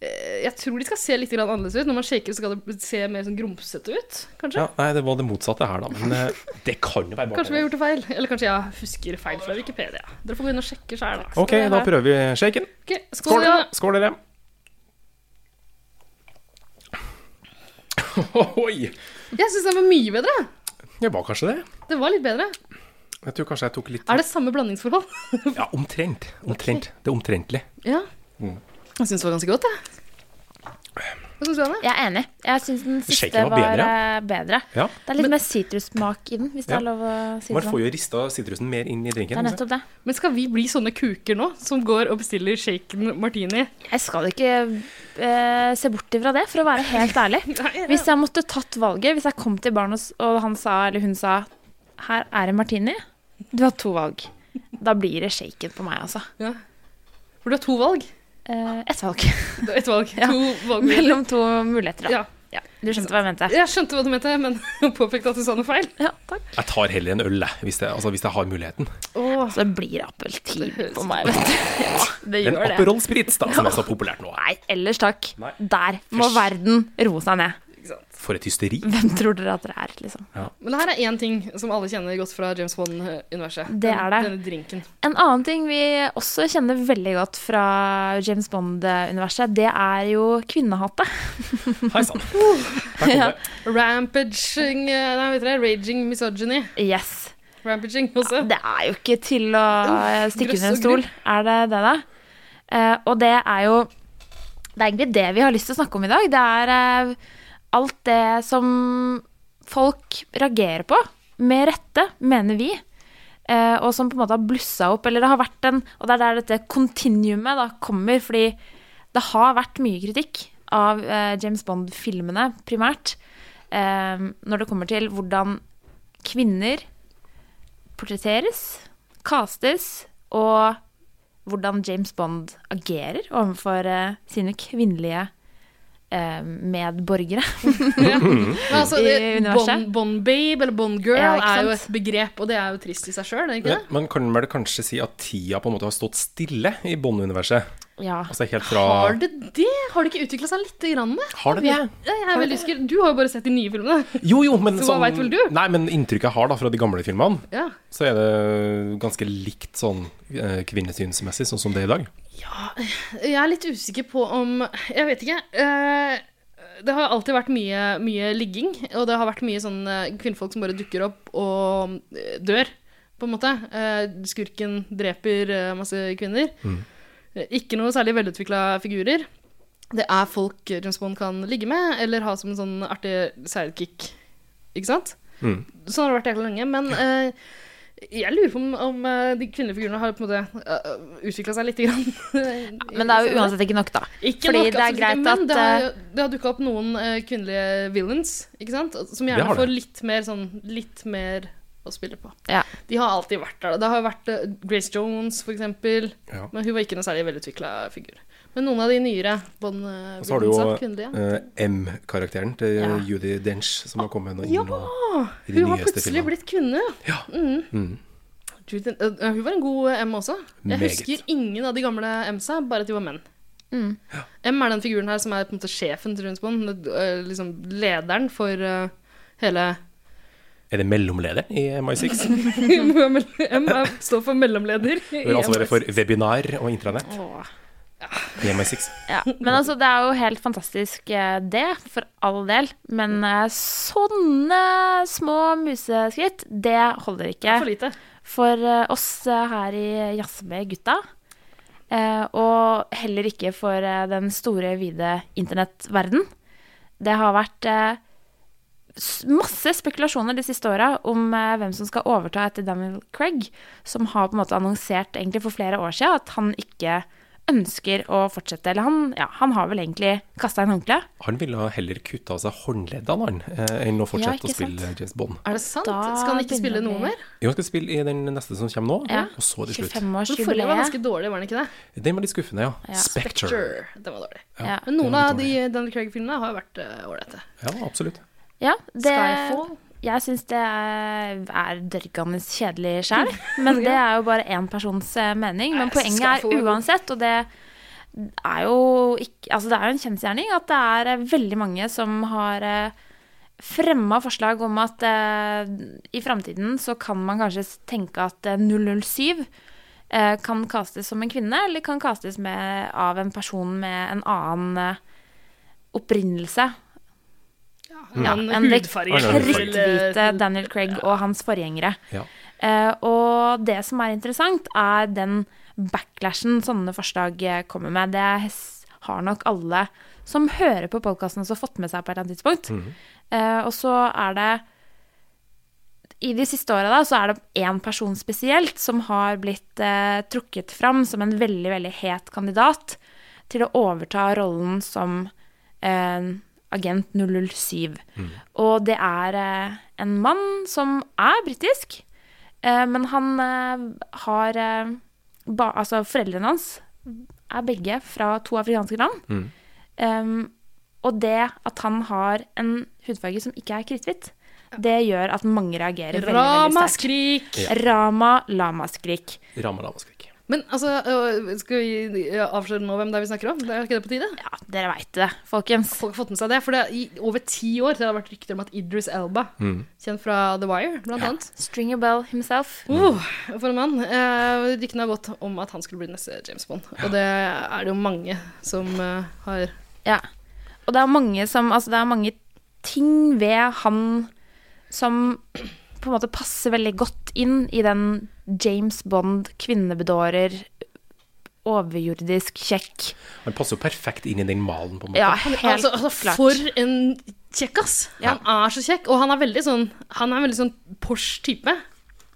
eh, jeg tror de skal se litt grann annerledes ut. Når man shaker, så skal det se mer sånn grumsete ut, kanskje.
Ja, nei, det var det motsatte her, da. Men eh, det kan jo være
Kanskje vi
bartender.
har gjort det feil. Eller kanskje jeg husker feil fra Wikipedia. Dere får gå inn og sjekke sjøl, da.
OK, da prøver vi shaken.
Ok, skål,
Skål,
ja.
Skål dere. <laughs> Oi!
Jeg syns den var mye bedre.
Det var kanskje det.
Det var litt bedre.
Jeg tror kanskje jeg tok litt
Er det samme
<laughs>
blandingsforhold?
Ja, omtrent. Omtrent. Det er omtrentlig.
ja.
Mm.
Jeg syns det var ganske godt, jeg. Hva syns du, Anne?
Jeg er enig. Jeg syns den siste
Shaken
var,
var bedre,
eh, bedre.
Ja.
Det er litt mer sitrussmak i den, hvis det
Ja.
er lov å si det
Man
sånn.
får jo rista sitrusen mer inn i
Det er
drinken. ikke sant?
nettopp det.
Men skal vi bli sånne kuker nå, som går og bestiller shaken martini?
Jeg skal ikke eh, se bort ifra det, for å være helt ærlig. <laughs> Hvis jeg måtte tatt valget, hvis jeg kom til barnet s- og han sa, eller hun sa Her er en martini. Du har to valg. Da blir det shaken på meg, altså.
Ja. For du har to valg.
Eh, Ett <laughs> valg.
Det var Ett valg.
Ja.
To valg.
Mellom to muligheter, da.
Ja.
Ja, du skjønte hva jeg mente.
Jeg skjønte hva du mente, men <laughs> påpekte at du sa noe feil.
Ja, takk.
Jeg tar heller en øl, jeg, hvis, det, altså, hvis jeg har muligheten.
Åh.
Så det blir appeltin på meg, vet du. Ja, det
En
gjør det.
Aperol Spritz, da, som er så populært nå.
Nei, ellers takk.
Nei.
Der må
Fysj.
verden roe seg ned.
For et hysteri.
Hvem tror dere at dere er, liksom?
Men det her er én ting som alle kjenner godt fra James Bond-universet.
Det er det.
Denne drinken.
En annen ting vi også kjenner veldig godt fra James Bond-universet, det er jo kvinnehatet.
Hei
<laughs>
sann. Der kom det.
Rampaging eh, Nei, vet dere, raging misogyny.
Yes.
Rampaging også.
Det er jo ikke til å
altså.
eh,
Uff,
stikke
grøss
under en
og
stol. Er det det, da? Eh, og det er jo Det er egentlig det vi har lyst til å snakke om i dag. Det er eh, alt det som folk reagerer på, med rette, mener vi. eh, og som på en måte har blussa opp, eller det har vært en Og det er der dette kontinuumet da kommer, fordi det har vært mye kritikk av eh, James Bond-filmene, primært, eh, når det kommer til hvordan kvinner portretteres, castes, og hvordan James Bond agerer overfor eh, sine kvinnelige eh, medborgere. <laughs>
Men altså, det,
I universet.
Bond- Bond babe eller Bond girl
Ja, ikke
er jo et
sant?
begrep, og det er jo trist i seg sjøl, er det ikke
Men
det?
Man kan vel kanskje si at tida på en måte har stått stille i Bond-universet?
Ja.
Altså helt fra
Har det det? Har det ikke utvikla seg lite grann? det?
Har det det?
Jeg er veldig usikker. Du har jo bare sett de nye filmene.
Jo, jo, men sånn-
Så hva vet vel du?
Nei, men inntrykket jeg har da fra de gamle filmene,
Ja.
så er det ganske likt sånn eh, kvinnesynsmessig, sånn som det er i dag.
Jeg er litt usikker på om Jeg vet ikke. eh, det har alltid vært mye, mye ligging, og det har vært mye sånn eh, kvinnfolk som bare dukker opp og eh, dør, på en måte. Eh, skurken dreper eh, masse kvinner. Eh, Ikke noe særlig velutvikla figurer. Det er folk James Bond kan ligge med, eller ha som en sånn artig sidekick. Ikke sant? Sånn har det vært jækla lenge, men eh, Jeg lurer på om, om eh, de kvinnelige figurene har på en måte utvikla seg lite grann.
Men det er jo uansett ikke nok, da.
Ikke
Fordi det
nok,
er
absolutt
greit
ikke, men
at, eh,
det har, jo- det har dukka opp noen eh, kvinnelige villains, ikke sant? Som
Det
gjerne
har det.
får litt mer sånn Litt mer å spille på.
Ja.
De har alltid vært der. da. Det har jo vært eh, Grace Jones, for eksempel.
Ja.
Men hun var ikke noe særlig velutvikla figur. Men noen av de nyere Bond eh,
Og så har du
Williams
jo
er kvinnelige.
eh, M-karakteren til
Ja.
Judy Dench, som har kommet nå inn
Ja,
nå. eh, i de
hun har
nyeste
plutselig
filmene.
blitt kvinne.
Ja.
Mm.
Mm.
Judi- eh, hun var en god M også. Jeg
Meget.
husker ingen av de gamle M-sa, bare at de var menn.
Mm.
M er den figuren her som er på en måte sjefen til James Bond. eh, Liksom lederen for eh, hele
Er det mellomlederen i MI6?
<laughs> M er- står for mellomleder. i
Hun har
M.
ansvaret altså for webinar og intranett
Åh.
i MI6.
Ja. Men altså, det er jo helt fantastisk, eh, det, for all del. Men eh, sånne små museskritt, det holder ikke.
For lite.
for eh, oss eh, her i Jazze gutta. eh, Og heller ikke for eh, den store, vide internettverden. Det har vært eh, s- masse spekulasjoner de siste åra om eh, hvem som skal overta etter Daniel Craig, som har på en måte annonsert egentlig for flere år siden at han ikke ønsker å fortsette. Eller han, ja, han har vel egentlig kasta inn håndkleet.
Han ville heller kutte av seg håndleddene han, eh, enn å
Ja,
fortsette
ikke
å spille James Bond.
Er det sant?
Da
Skal han ikke
begynner
spille
det.
noe mer?
Jo, han skal spille i den neste som kommer nå,
Ja.
og så til slutt.
Men Forrige var
25-årsjubileet.
ganske dårlig, var den ikke det?
Den var litt skuffende, ja.
Ja.
Spectre.
Sure, den var dårlig.
Ja.
Men noen
var
av de
litt
Daniel Craig-filmene har jo vært eh, ålreite.
Ja, absolutt.
Ja, det,
Skyfall.
Jeg syns det er er dørgende kjedelig sjæl, <laughs> men det er jo bare én persons eh, mening. Men
Nei,
poenget
Skyfall er
er
god.
uansett, og det er jo ikke Altså, det er jo en kjensgjerning at det er eh, veldig mange som har eh, fremma forslag om at eh, i framtiden så kan man kanskje s- tenke at eh, 007 eh, kan kastes som en kvinne, eller kan kastes med, av en person med en annen eh, opprinnelse.
Ja,
enn
en
det
hudfarge. eh, øh,
Kritthvite Daniel Craig og hans forgjengere.
Ja.
Eh, og det som er interessant, er den backlashen sånne forslag eh, kommer med. Det s- har nok alle som hører på podkasten også fått med seg på et eller annet tidspunkt. Eh, og så er det i de siste åra da, så er det én person spesielt som har blitt eh, trukket fram som en veldig, veldig het kandidat til å overta rollen som eh, agent 007. Og det er eh, en mann som er britisk, eh, men han eh, har eh, ba, Altså, foreldrene hans er begge fra to afrikanske land. Um, og det at han har en hudfarge som ikke er kritthvit, det gjør at mange reagerer veldig, veldig sterkt.
Ramaskrik!
Rama lamaskrik.
Ramma lamaskrik.
Men altså, øh, skal vi øh, avsløre nå hvem det er vi snakker om? Det er ikke det på tide?
Ja, dere veit det, folkens.
Folk har fått med seg det, for det er i over ti år så har det vært rykter om at Idris Elba, kjent fra The Wire, blant annet
Stringer Bell himself.
oh, For en mann. Eh, ryktene har gått om at han skulle bli neste James Bond. Og det er det jo mange som eh, har
Ja. Og det er mange som Altså, det er mange ting ved han som på en måte passer veldig godt inn i den James Bond kvinnebedårer, overjordisk kjekk
Han passer jo perfekt inn i den malen, på en måte.
Ja, helt
altså, altså,
klart.
For en kjekkas!
Ja.
Han er så kjekk, og han er veldig sånn Han er veldig sånn Porsche type.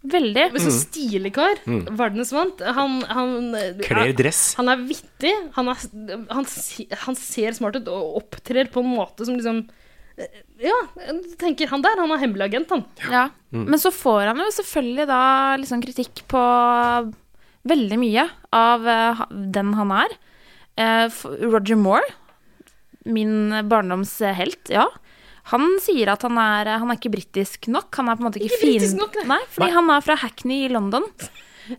Veldig.
Veldig så stilig kar. Verdensvant. Han, han eh,
Kler dress.
Han er vittig, han, er, han, se- han ser smart ut og opptrer på en måte som liksom Ja, jeg tenker han der, han er hemmelig agent, han.
Ja.
Mm.
Men så får han jo selvfølgelig da liksom kritikk på veldig mye av eh, ha- den han er. Eh, f- Roger Moore, min barndomshelt, ja. Han sier at han er, han er ikke britisk nok. Han er på en måte ikke,
Ikke britisk
fin-
nok, nei.
Nei, fordi
Nei.
han er fra Hackney i
<laughs>
London.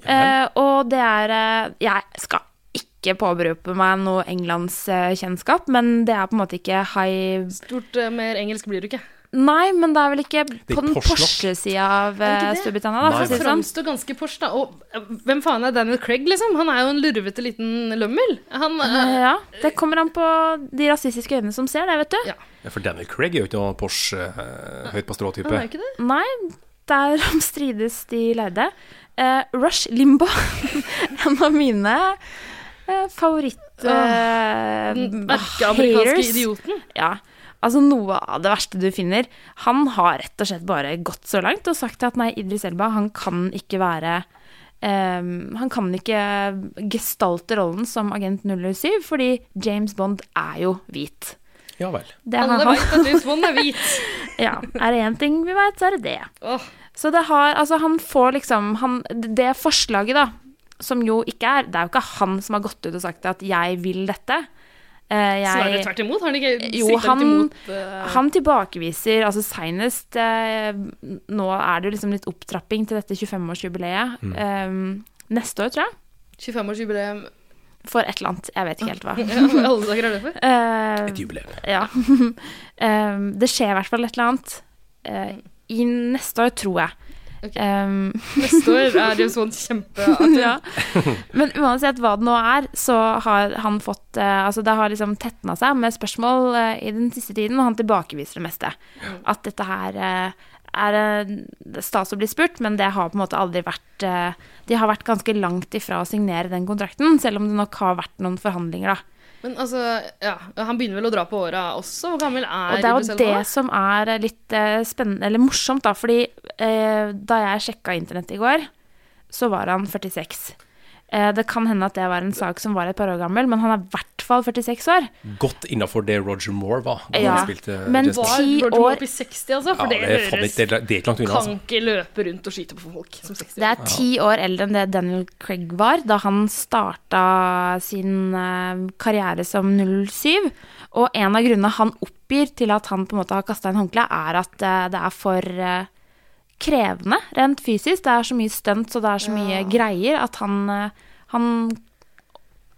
Eh, og det er eh, Jeg skal ikke påberope meg noe englandskjennskap, men det er på en måte ikke high
Stort eh, mer engelsk blir du ikke.
Nei, men det er vel ikke
er
på den
ikke Porsche nok.
Porsche-sida av
Er det ikke
eh,
det?
Storbritannia, da, for å si
Nei.
Han
det sånn.
framstår ganske Porsche, da. Og eh, hvem faen er Daniel Craig, liksom? Han er jo en lurvete liten lømmel. Han
Eh,
eh,
Ja, det kommer an på de rasistiske øynene som ser det, vet du.
Ja.
Ja, For Daniel Craig er jo ikke noen Porsche eh, høyt på strå-type.
han er jo ikke det.
Nei, derom <laughs> strides de lærde. Eh, Rush Limbo, <laughs> en av mine eh, favoritt...
Den
Uh, Ah,
merkeamerikanske idioten.
Ja. Altså Noe av det verste du finner. Han har rett og slett bare gått så langt og sagt at nei, Idris Elba, han kan ikke være ehm, Han kan ikke gestalte rollen som agent 007, fordi James Bond er jo hvit.
Ja vel.
Det har
Alle
han-
vet at James Bond er hvit.
<laughs> ja, er det én ting vi vet, så er det det.
Åh.
Så det har Altså, han får liksom han, Det forslaget, da, som jo ikke er Det er jo ikke han som har gått ut og sagt at 'jeg vil dette'. Eh, jeg,
Snarere tvert imot. Har han ikke
Jo,
strikta
han-
litt imot eh,
han tilbakeviser altså Senest eh, nå er det jo liksom litt opptrapping til dette 25-årsjubileet.
Mm.
Eh, neste år, tror jeg.
25-årsjubileum
For et eller annet. Jeg vet ikke helt hva.
<laughs> Ja, Alle dager er det for?
Eh,
Et jubileum.
Ja. <laughs> um, det skjer i hvert fall et eller annet. eh, I neste år, tror jeg.
Mm. Ok.
Um,
Neste år er sånn James Bond kjempeaktiv.
ja. <laughs> Men uansett hva det nå er, så har han fått eh, Altså, det har liksom tetna seg med spørsmål eh, i den siste tiden, og han tilbakeviser det meste. At dette her eh, er eh, det er stas å bli spurt, men det har på en måte aldri vært eh, De har vært ganske langt ifra å signere den kontrakten, selv om det nok har vært noen forhandlinger, da.
Men altså, ja, han begynner vel å dra på åra også? Hvor gammel er
Og det er
Idris
jo
Elba?
det som er litt eh, spennende, eller morsomt, da. Fordi eh, da jeg sjekka internett i går, så var han 46. Eh, det kan hende at det var en sak som var et par år gammel, men han er i hvert fall 46 år.
Godt innafor det Roger Moore var. da
Ja,
han spilte
men
James Bond.
Var
Ti
Roger Moore
år-
oppe i 60, altså?
ja,
For
det,
det,
er faen
høres
ikke- det, er- det er ikke langt unna,
Kan
altså.
ikke løpe rundt og skyte på folk som 60.
Det er ti år eldre enn det Daniel Craig var da han starta sin eh, karriere som 07. Og en av grunnene han oppgir til at han på en måte har kasta inn håndkleet, er at eh, det er for eh, krevende rent fysisk. Det er så mye stunts og det er så mye greier at han, eh, han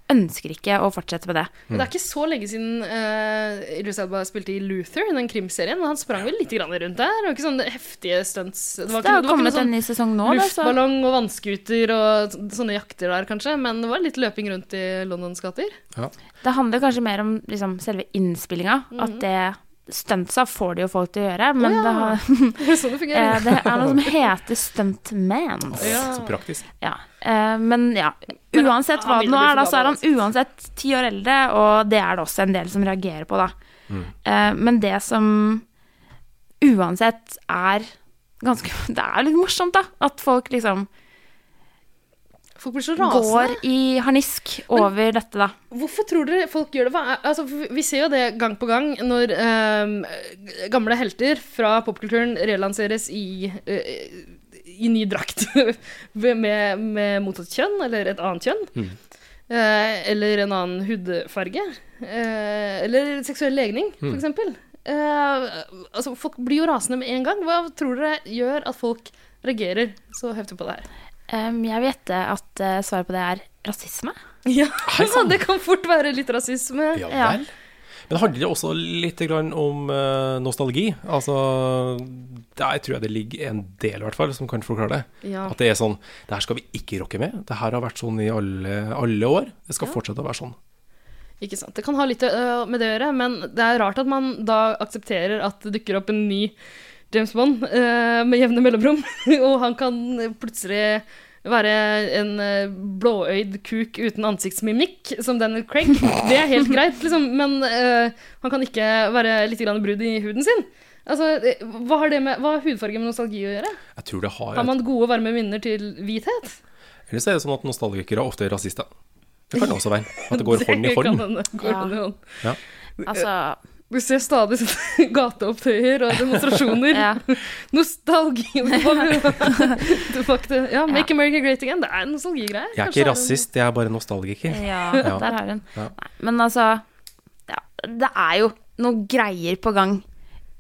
ønsker ikke å fortsette med det.
Men det er ikke så lenge siden eh, Idris Elba spilte i Luther, den krimserien. Og han sprang vel litt grann rundt der. Det var ikke sånne heftige stunts. Det var
Det har jo
ikke, det var ikke
kommet
noe
en
sånn
ny sesong nå, da, så
luftballong og vannskuter og så- sånne jakter der, kanskje. Men det var litt løping rundt i Londons gater. <laughs>
Det handler kanskje mer om liksom, selve innspillinga. At det stuntsa får de jo folk til å gjøre, men
Mhm. Å ja.
det, har,
Det er sånn det
Eh,
fungerer.
det er noe som heter stuntmans.
Så praktisk.
Ja. Eh, Men ja,
Men
uansett
han
hva det
vil
nå
bli
er, da, så er han
forbanna,
uansett ti år eldre, og det er det også en del som reagerer på, da. Eh, Men det som uansett er ganske <laughs> Det er litt morsomt, da. At folk liksom
Folk blir så rasende.
går i harnisk over dette, da.
Hvorfor tror dere folk gjør det? Hva er, altså, vi- vi ser jo det gang på gang når ehm, gamle helter fra popkulturen relanseres i, eh, i ny drakt <laughs> med, med motsatt kjønn, eller et annet kjønn.
Mm.
Eh, eller en annen hudfarge. eh, eller seksuell legning, for
Mm.
eksempel. Eh, altså, folk blir jo rasende med en gang. Hva tror dere gjør at folk reagerer så heftig på det her? <laughs>
Em, Eh, Jeg vil gjette at eh, svaret på det er rasisme.
Ja,
Hei sann.
Det kan fort være litt rasisme.
Ja
Ja.
vel. Men handler det også litt grann om eh, nostalgi? Altså, der tror jeg det ligger en del, i hvert fall, som kan forklare det.
Ja.
At det er sånn Det her skal vi ikke rokke med. Det her har vært sånn i alle, alle år. Det skal fortsette å være sånn.
Ikke sant. Det kan ha litt øh, med det å gjøre, men det er rart at man da aksepterer at det dukker opp en ny James Bond øh, med jevne mellomrom, <laughs> og han kan plutselig være en øh, blåøyd kuk uten ansiktsmimikk, som Daniel Craig. Det er helt greit, liksom, men øh, han kan ikke være litt grann brud i huden sin. Altså, øh, hva har, det med, hva har hudfarge med nostalgi å gjøre?
Jeg tror det har,
Har man gode, varme minner til hvithet?
Ellers er det sånn at nostalgikere ofte er rasister. Det kan det også være. At det
<laughs>
går hånd i
kan
hånd.
hende går
Ja.
hånd i hånd.
Altså
Vi ser stadig sånne <laughs> gateopptøyer og demonstrasjoner.
<laughs> Ja.
Nostalgi
<laughs>
<laughs> Tilbake til Ja, Make America Great Again. Det er en nostalgigreie.
Jeg er
Kanskje
ikke rasist, jeg er bare nostalgiker.
Ja,
<laughs> Ja.
der har hun.
Ja.
Nei, men altså ja, Det er jo noen greier på gang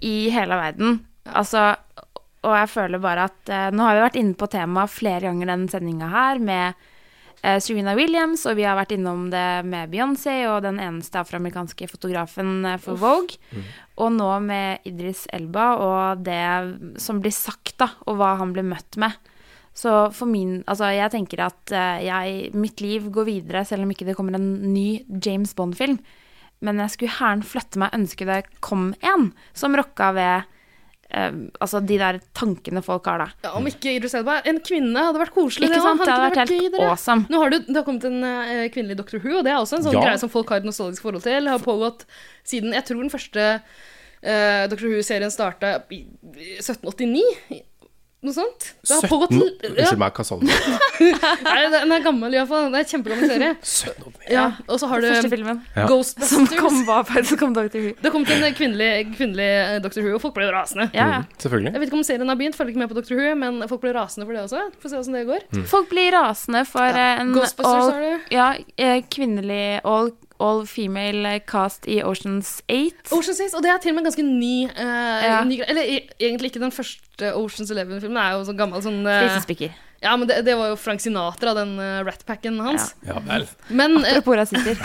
i hele verden. Altså, og jeg føler bare at eh, Nå har vi vært inne på temaet flere ganger denne sendinga her med eh, Serena Williams, og vi har vært innom det med Beyoncé og den eneste afroamerikanske fotografen eh, for Vogue.
Mm.
Og nå med Idris Elba og det som blir sagt, da, og hva han blir møtt med. Så for min Altså, jeg tenker at eh, jeg Mitt liv går videre, selv om ikke det kommer en ny James Bond-film. Men jeg skulle gjerne flytte meg, ønske det kom en som rokka ved eh, altså de der tankene folk har, da.
Ja, om ikke Idris Elba. En kvinne hadde vært koselig.
Ikke
da.
sant? Det
Hadde
hadde
ikke
vært
det
helt
gøy, dere?
awesome.
Nå har det, det har kommet en eh, kvinnelig Dr. Who, og det er også en sånn
Ja.
greie som folk har et nostalgisk forhold til. Har pågått siden jeg tror den første eh, Doctor Who-serien starta i 1789. Noe sånt. Det har pågått
Nå-
l- ja,
Unnskyld meg, hva sa du?
nei, Den er gammel, iallfall. Det er en kjempegammel serie.
<laughs> 1789.
Ja, og så har du
Første filmen
Ja.
som
Ghostbusters.
kom, var faktisk kom Dr. Who.
Det kom til en kvinnelig, kvinnelig eh, Doctor Who, og folk ble rasende.
Ja, ja.
Mm, selvfølgelig.
Jeg vet ikke om serien har begynt, følger ikke med på Doctor Who, men folk ble rasende for det også. Får se åssen det går.
Folk blir rasende for eh,
Mm.
en
Ghostbusters
all-
har du.
ja, eh, kvinnelig all, all female cast i Oceans 8.
Oceans 6, og det er til og med en ganske ny, uh,
Ja.
ny gre- Eller e- egentlig ikke den første Oceans Eleven-filmen. Det er jo så gammel sånn eh,
Flisespikker.
Ja, men det, det var jo Frank Sinatra, den eh, rat packen hans.
Ja vel.
Men, eh,
Apropos rasister.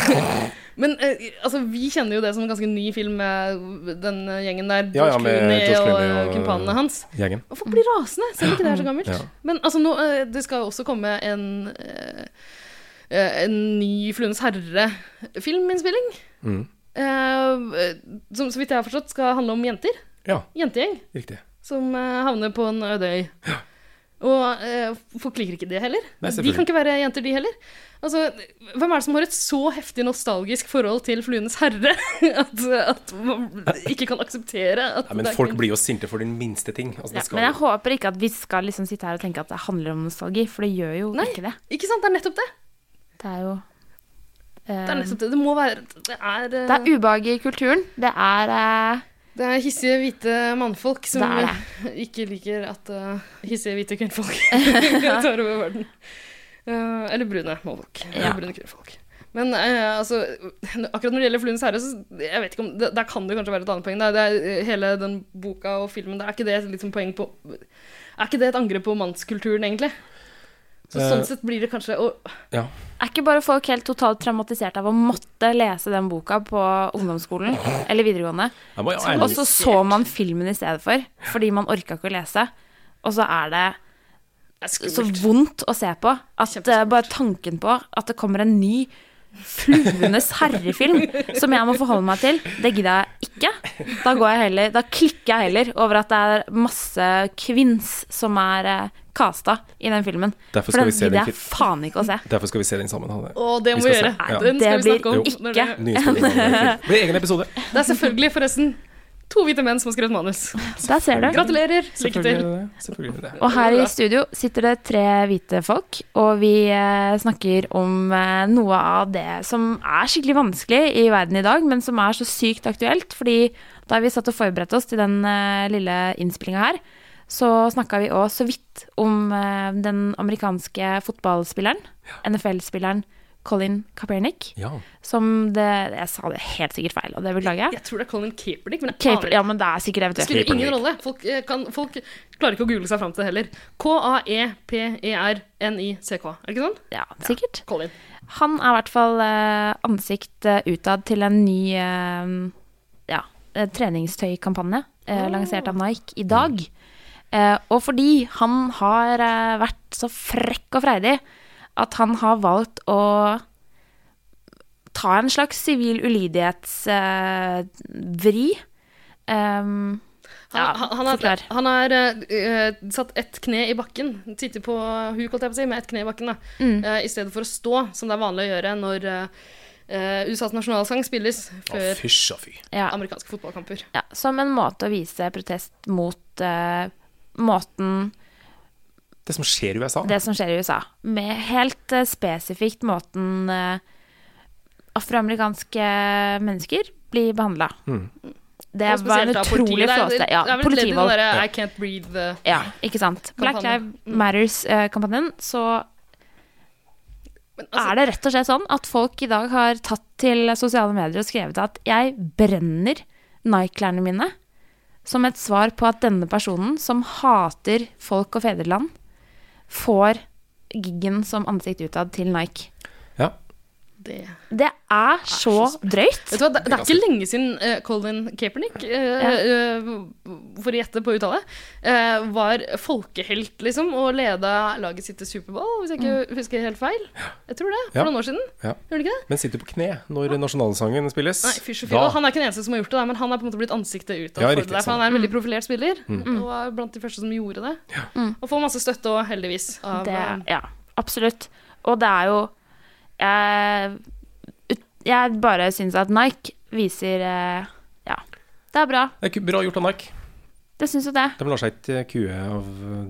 men eh, altså, vi kjenner jo det som en ganske ny film, eh, den eh, gjengen der.
Ja, ja,
George
med
Clooney
George
og,
Clooney
eh,
og-
kumpanene hans.
Gjengen.
Og folk blir rasende, selv om ikke det er så gammelt.
Ja.
Men altså, nå, eh, det skal jo også komme en eh, eh, En ny Fluenes herre-filminnspilling.
Mm.
eh, som så vidt jeg har forstått skal handle om jenter.
Ja,
Jentegjeng
riktig.
som eh, havner på en øde øy. Og eh, folk liker ikke det heller.
Nei,
de
selvfølgelig.
kan ikke være jenter, de heller. Altså, hvem er det som har et så heftig nostalgisk forhold til Fluenes herre <laughs> at, at man ikke kan akseptere at
Nei, men
det er
folk
kvinner?
blir jo sinte for den minste ting. Altså,
Ja,
det skal
men jeg håper ikke at vi skal liksom sitte her og tenke at det handler om nostalgi, for det gjør jo
Nei.
ikke det.
Ikke sant? Det er nettopp det.
Det er jo eh,
Det er nettopp det. Det må være Det er, eh,
det er ubehag i kulturen. Det er eh,
det er hissige hvite mannfolk som
Det er
<laughs> ikke liker at eh, hissige hvite <laughs> kvinnfolk tar over verden. Eh, eller brune mannfolk.
Ja.
Eller brune kvinnfolk. Men eh, altså, akkurat når det gjelder Fluenes herre, så jeg vet ikke om, det, der kan det kanskje være et annet poeng. Der. Det er, eh, hele den boka og filmen, der, er ikke det et liksom poeng på Er ikke det et angrep på mannskulturen, egentlig? Så
Eh,
Sånn sett blir det kanskje å,
Er ikke bare folk helt totalt traumatisert av å måtte lese den boka på ungdomsskolen eller videregående?
Jeg må jo
Og
ærlig
så så man filmen i stedet for, fordi man orka ikke å lese. Og så er det
det er
så
skummelt.
vondt å se på at eh,
Kjempeskummelt.
bare tanken på at det kommer en ny Fluenes herrefilm som jeg må forholde meg til, det gidder jeg ikke. Da, går jeg heller, da klikker jeg heller over at det er masse kvinns som er eh, casta i den filmen.
Derfor skal
For
vi
den
se den
gidder jeg
kit-
faen ikke å se.
Derfor skal vi se den sammen. Hanne.
Å, det
Vi
må vi
skal
gjøre.
se. Ja.
Den
Det
skal vi snakke om.
blir
når
ikke
Nye spørsmål. Det blir egen episode.
Det er selvfølgelig forresten to hvite menn som har skrevet manus.
Der ser du.
Gratulerer. <laughs> Lykke
Selvfølgelig
til.
er det det. Selvfølgelig er det det.
Og her i studio sitter det tre hvite folk, og vi eh, snakker om eh, noe av det som er skikkelig vanskelig i verden i dag, men som er så sykt aktuelt. Fordi da vi satt og forberedte oss til den eh, lille innspillinga her, så snakka vi òg så vidt om eh, den amerikanske fotballspilleren, NFL-spilleren Colin Kaepernick,
Ja.
som det Jeg sa det helt sikkert feil, og det beklager jeg.
Jeg tror det er Colin Kaepernick, men jeg
Caper,
aner ikke.
ja, men det er sikkert
Det
eventuelt.
spiller ingen rolle. Folk, eh, kan, folk klarer ikke å google seg fram til det heller. E K-a-e-p-e-r-n-i-c-k. Er det ikke sånn?
Ja, sikkert.
Colin.
Han er i hvert fall eh, ansikt eh, utad til en ny eh, ja, eh, treningstøykampanje eh, lansert av Nike i dag. Eh, og fordi han har eh, vært så frekk og freidig at han har valgt å ta en slags sivil eh, ulydighetsvri. Um,
Han,
Ja,
han, han har,
forklar.
han har eh, eh, satt ett kne i bakken. Sitter på huk, holdt jeg på å si, med ett kne i bakken. Da.
Mm.
Eh, I stedet for å stå, som det er vanlig å gjøre når eh, eh, USAs nasjonalsang spilles
Å,
før
fysj og fy.
ja.
amerikanske fotballkamper.
Ja, som en måte å vise protest mot eh, måten
Det som skjer i USA.
det som skjer i USA. Med helt eh, spesifikt måten eh, afroamerikanske mennesker blir behandla. Det var
Og spesielt
en
da
utrolig
politiet. Det er-
flåste. Ja,
Det er vel et ledd i den
politivold.
derre I can't breathe eh,
Ja, ikke sant. Black
Kampanjen. Mm.
Lives Matters-kampanjen. Så
men, altså,
er det rett og slett sånn at folk i dag har tatt til sosiale medier og skrevet at jeg brenner Nike-klærne mine som et svar på at denne personen som hater folk og fedreland, får giggen som ansikt utad til Nike.
Ja.
det
Det er så drøyt.
Vet du hva, det, det er ikke lenge siden eh, Colin Kaepernick, eh, eh, for å gjette på uttale, eh, var folkehelt, liksom, og leda laget sitt til Superbowl, hvis jeg ikke husker helt feil. Jeg tror det. For
Ja.
noen år siden.
Ja.
Gjorde det ikke det?
Men sitter du på kne når nasjonalsangen spilles?
Nei, fysj og fy. Og Han er ikke den eneste som har gjort det, der, men han er på en måte blitt ansiktet utad
Ja,
for
riktig, sånn. Mm.
det. der, For
sant.
han er en veldig profilert spiller, og var blant de første som gjorde det. Og får masse støtte òg, heldigvis. Av,
Det,
eh,
ja, absolutt. Og det er jo Jeg, ut- jeg bare syns at Nike viser eh, ja, det er bra.
Det er ku- bra gjort av Nike.
Det syns jo det.
De lar seg ikke kue av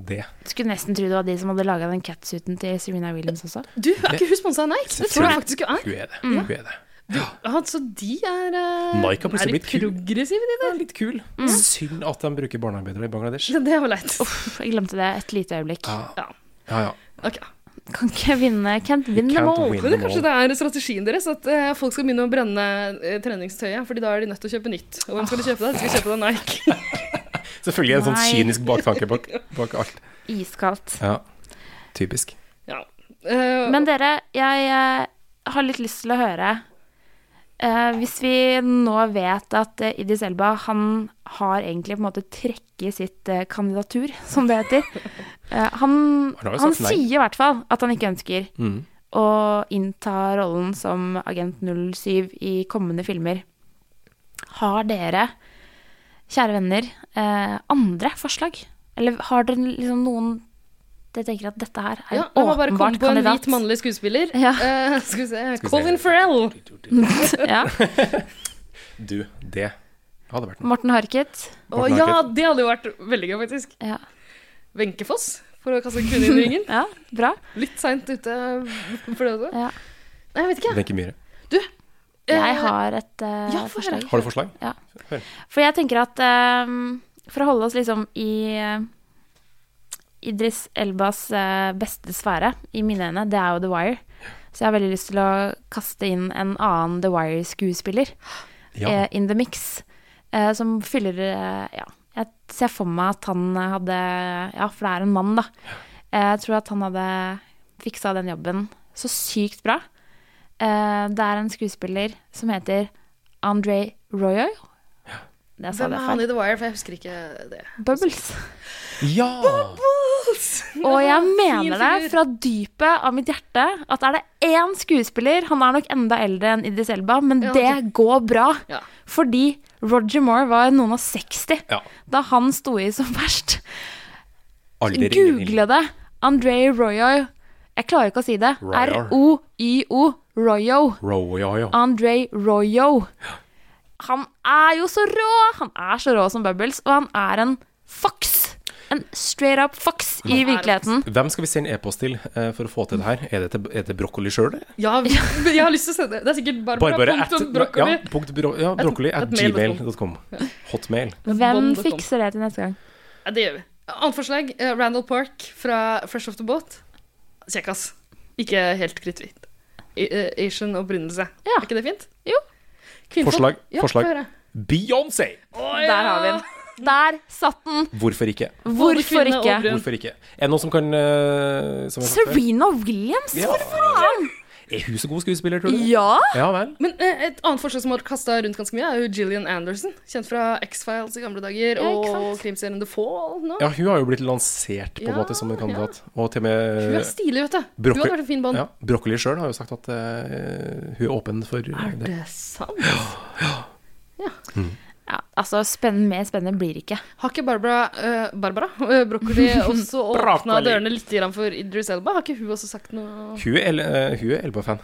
det.
Skulle nesten tro det var de som hadde laga den catsuiten til Serena Williams også.
Du, er ikke hun sponsa av Nike? Det tror jeg faktisk hun er.
Kue er det.
Mm.
Kue er det.
Altså, de er eh,
Nike har plutselig
er
blitt kul.
progressive, de
Det
der.
er litt kul.
Mm.
Synd at de bruker barnearbeidere i Bangladesh.
Ja, Det var leit.
Uff, jeg glemte det et lite øyeblikk.
Ja.
Ja, ja.
Ok.
Kan ikke vinne Can't win them
Can't
all.
win
Men det,
them
kanskje
all.
det er strategien deres at eh, folk skal begynne å brenne eh, treningstøyet, Fordi da er de nødt til å kjøpe nytt. Og hvem skal de kjøpe det? De skal kjøpe det av
<laughs>
Nike.
Selvfølgelig en sånn
Nei.
kynisk baktanke bak, bak alt.
Iskaldt.
Ja, typisk.
Ja. Eh,
Men dere, jeg eh, har litt lyst til å høre eh, Hvis vi nå vet at eh, Idris Elba, han har egentlig på en måte trekket sitt eh, kandidatur, <laughs> som det heter. Eh, han
Han har jo
han
sagt nei.
sier i hvert fall at han ikke ønsker
Mm.
å innta rollen som Agent 07 i kommende filmer. Har dere, kjære venner, eh, andre forslag? Eller har dere liksom noen dere tenker at dette her er
ja,
en
jeg må bare komme
åpenbart
på en
kandidat?
hvit mannlig skuespiller.
Ja.
Eh, <laughs> skal vi se
vi se.
Colin Farrell.
<laughs> ja.
Du, det hadde vært noe.
Morten Harket.
Å,
Morten
ja,
Harket.
det hadde jo vært veldig gøy, faktisk.
Ja.
Wenche Foss, for å kaste en
<laughs>
kvinne inn i ringen.
ja, bra.
Litt seint ute eh, for det også.
Ja.
Nei, jeg vet ikke.
Wenche Myhre.
Eh,
Jeg har et eh,
ja, få høre.
forslag.
Har du forslag?
For jeg tenker at eh, for å holde oss liksom i eh, Idris Elbas eh, beste sfære i mine øyne, det er jo The Wire. Så jeg har veldig lyst til å kaste inn en annen The Wire-skuespiller eh,
Ja.
in the mix, eh, som fyller eh, Ja, jeg ser for meg at han eh, hadde Ja, for det er en mann, da. Eh, jeg tror at han hadde fiksa den jobben så sykt bra. Eh, det er en skuespiller som heter André Royo. Det sa
Hvem
jeg
er
feil.
han i The Wire? For jeg husker ikke det.
Bubbles.
ja.
Og jeg
fin
mener det
figur.
fra dypet av mitt hjerte at er det én skuespiller Han er nok enda eldre enn Idris Elba, men
Ja,
det går bra.
Ja.
Fordi Roger Moore var noen og 60
Ja.
da han sto i som verst.
Alder ingen
Google det. André Royo. Jeg klarer ikke å si det.
Royo.
R-o-y-o. Royo.
Row, ja,
Ah.
ja.
André Royo. Han er jo så rå! Han er så rå som Bubbles, og han er en fox. En straight up fox i
er en
virkeligheten.
Hvem skal vi sende e-post til eh, for å få til det her? Er det til, er det til brokkoli sjøl?
Ja, vi- men jeg har lyst til å se det. Det er sikkert Barbara,
Barbara at,
punktum broccoli.
ja, punkt bro, ja, brokkoli at
at mail.com. <laughs>
gmail.com. Hotmail.
Hvem
Bond.com.
fikser det til neste gang?
Ja, det gjør vi. Annet forslag. eh, Randall Park fra Fresh Off The Boat. Kjekkas. Ikke helt kritthvit. I- eh, Asian opprinnelse.
Ja.
Er ikke det fint?
Jo.
Kvinnfolk.
Forslag,
Ja,
forslag.
få høre.
Beyoncé!
Der har vi den. Der satt den!
Hvorfor ikke?
Hvorfor
kvinne og
ikke?
brun.
Hvorfor ikke? Er det noen som kan eh, som har sagt før?
Serena Williams,
Ja.
for faen!
Er hun så god skuespiller, tror du?
Ja!
Ja vel.
Men eh, et annet forslag som har vært kasta rundt ganske mye, er jo Gillian Anderson. Kjent fra X-Files i gamle dager
Ja, ikke
og
sant?
krimserien The Fall nå.
Ja, hun har jo blitt lansert på en
Ja,
måte som en kandidat. Og til og med
Hun er stilig, vet du.
Broccoli-
Hun hadde vært en fin bånd.
eh, ja, Brokkoli sjøl har jo sagt at eh, hun er åpen for
Er
det.
det sant?
ja altså, spenn, mer spennende blir det ikke.
Har ikke Barbara, eh, Barbara <laughs> eh,
<laughs>
Broccoli også åpna
Broccoli.
dørene litt grann for Idris Elba? Har ikke hun også sagt noe
Hun er, el- eh, hun er Elba-fan.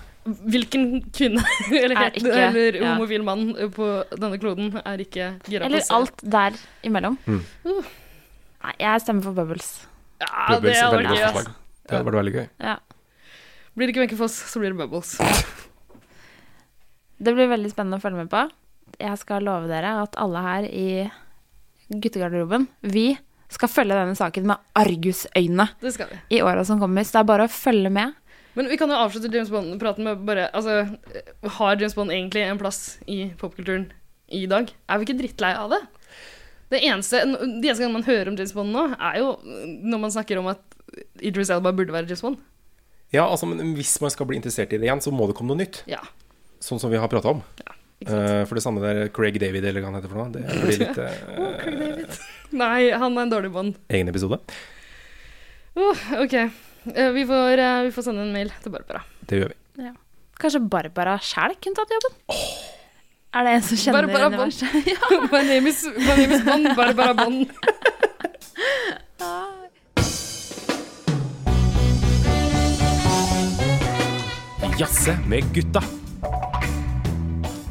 Hvilken kvinne <laughs> eller,
Er
het,
ikke-
eller
ja.
homofil mann på denne kloden er ikke gira på å
Eller
se?
alt der imellom. Nei, jeg stemmer for Bubbles.
Ja, det
Bubbles er
hadde
veldig
vært
godt
gøy,
forslag.
ass.
Det hadde vært veldig gøy.
Ja.
Blir det ikke Wenche Foss, så blir det Bubbles.
Det blir veldig spennende å følge med på. Jeg skal love dere at alle her i guttegarderoben, vi skal følge denne saken med argusøyne
Det skal vi.
i åra som kommer. Så det er bare å følge med.
Men vi kan jo avslutte James Bond-praten med bare Altså, eh, har James Bond egentlig en plass i popkulturen i dag? Er vi ikke drittlei av det? Det eneste, n- de eneste gangene man hører om James Bond nå, er jo når man snakker om at Idris Elba burde være James Bond.
Ja, altså, men Hvis man skal bli interessert i det igjen, så må det komme noe nytt.
Ja.
Sånn som vi har prata om.
Ikke sant?
Eh, for det samme der Craig David, eller hva han heter for noe. Det blir
<laughs>
litt eh,
Craig David. Nei, han er en dårlig Bond.
egen episode.
Uh, ok. Eh, vi, får, eh, vi får sende en mail til Barbara.
Det gjør vi.
Kanskje Barbara sjæl kunne tatt jobben? Er det en som kjenner
Barbara Bond.
universet?
<laughs> my, name is, my name is Bond. Barbara Bond.
Jazze med gutta.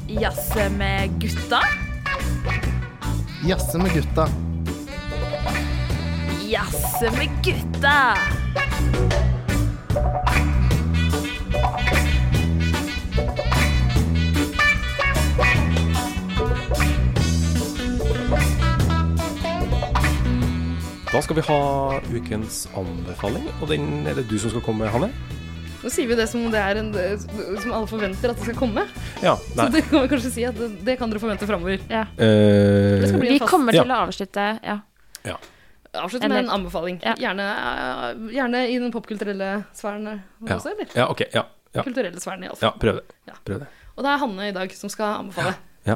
Jazze med gutta?
Jazze med gutta.
Jazze med gutta!
Da skal vi ha ukens anbefaling, og den er det du som skal komme med, Hanne.
Nå sier vi det som det er en, som alle forventer at det skal komme.
Ja,
Så
nei.
det kan vi kanskje si at det, det kan dere forvente framover.
Eh,
Det skal bli
Vi
en fast
kommer
Ja.
til å avslutte ja.
Avslutt med en
Eller-
anbefaling.
Ja.
Gjerne, eh, gjerne i den popkulturelle sfæren
ja.
også, eller?
ja, ok. Ja, ja,
Kulturelle sfæren, iallfall.
ja prøv
Ja.
det. Prøv det.
Og det er Hanne i dag som skal anbefale.
Ja.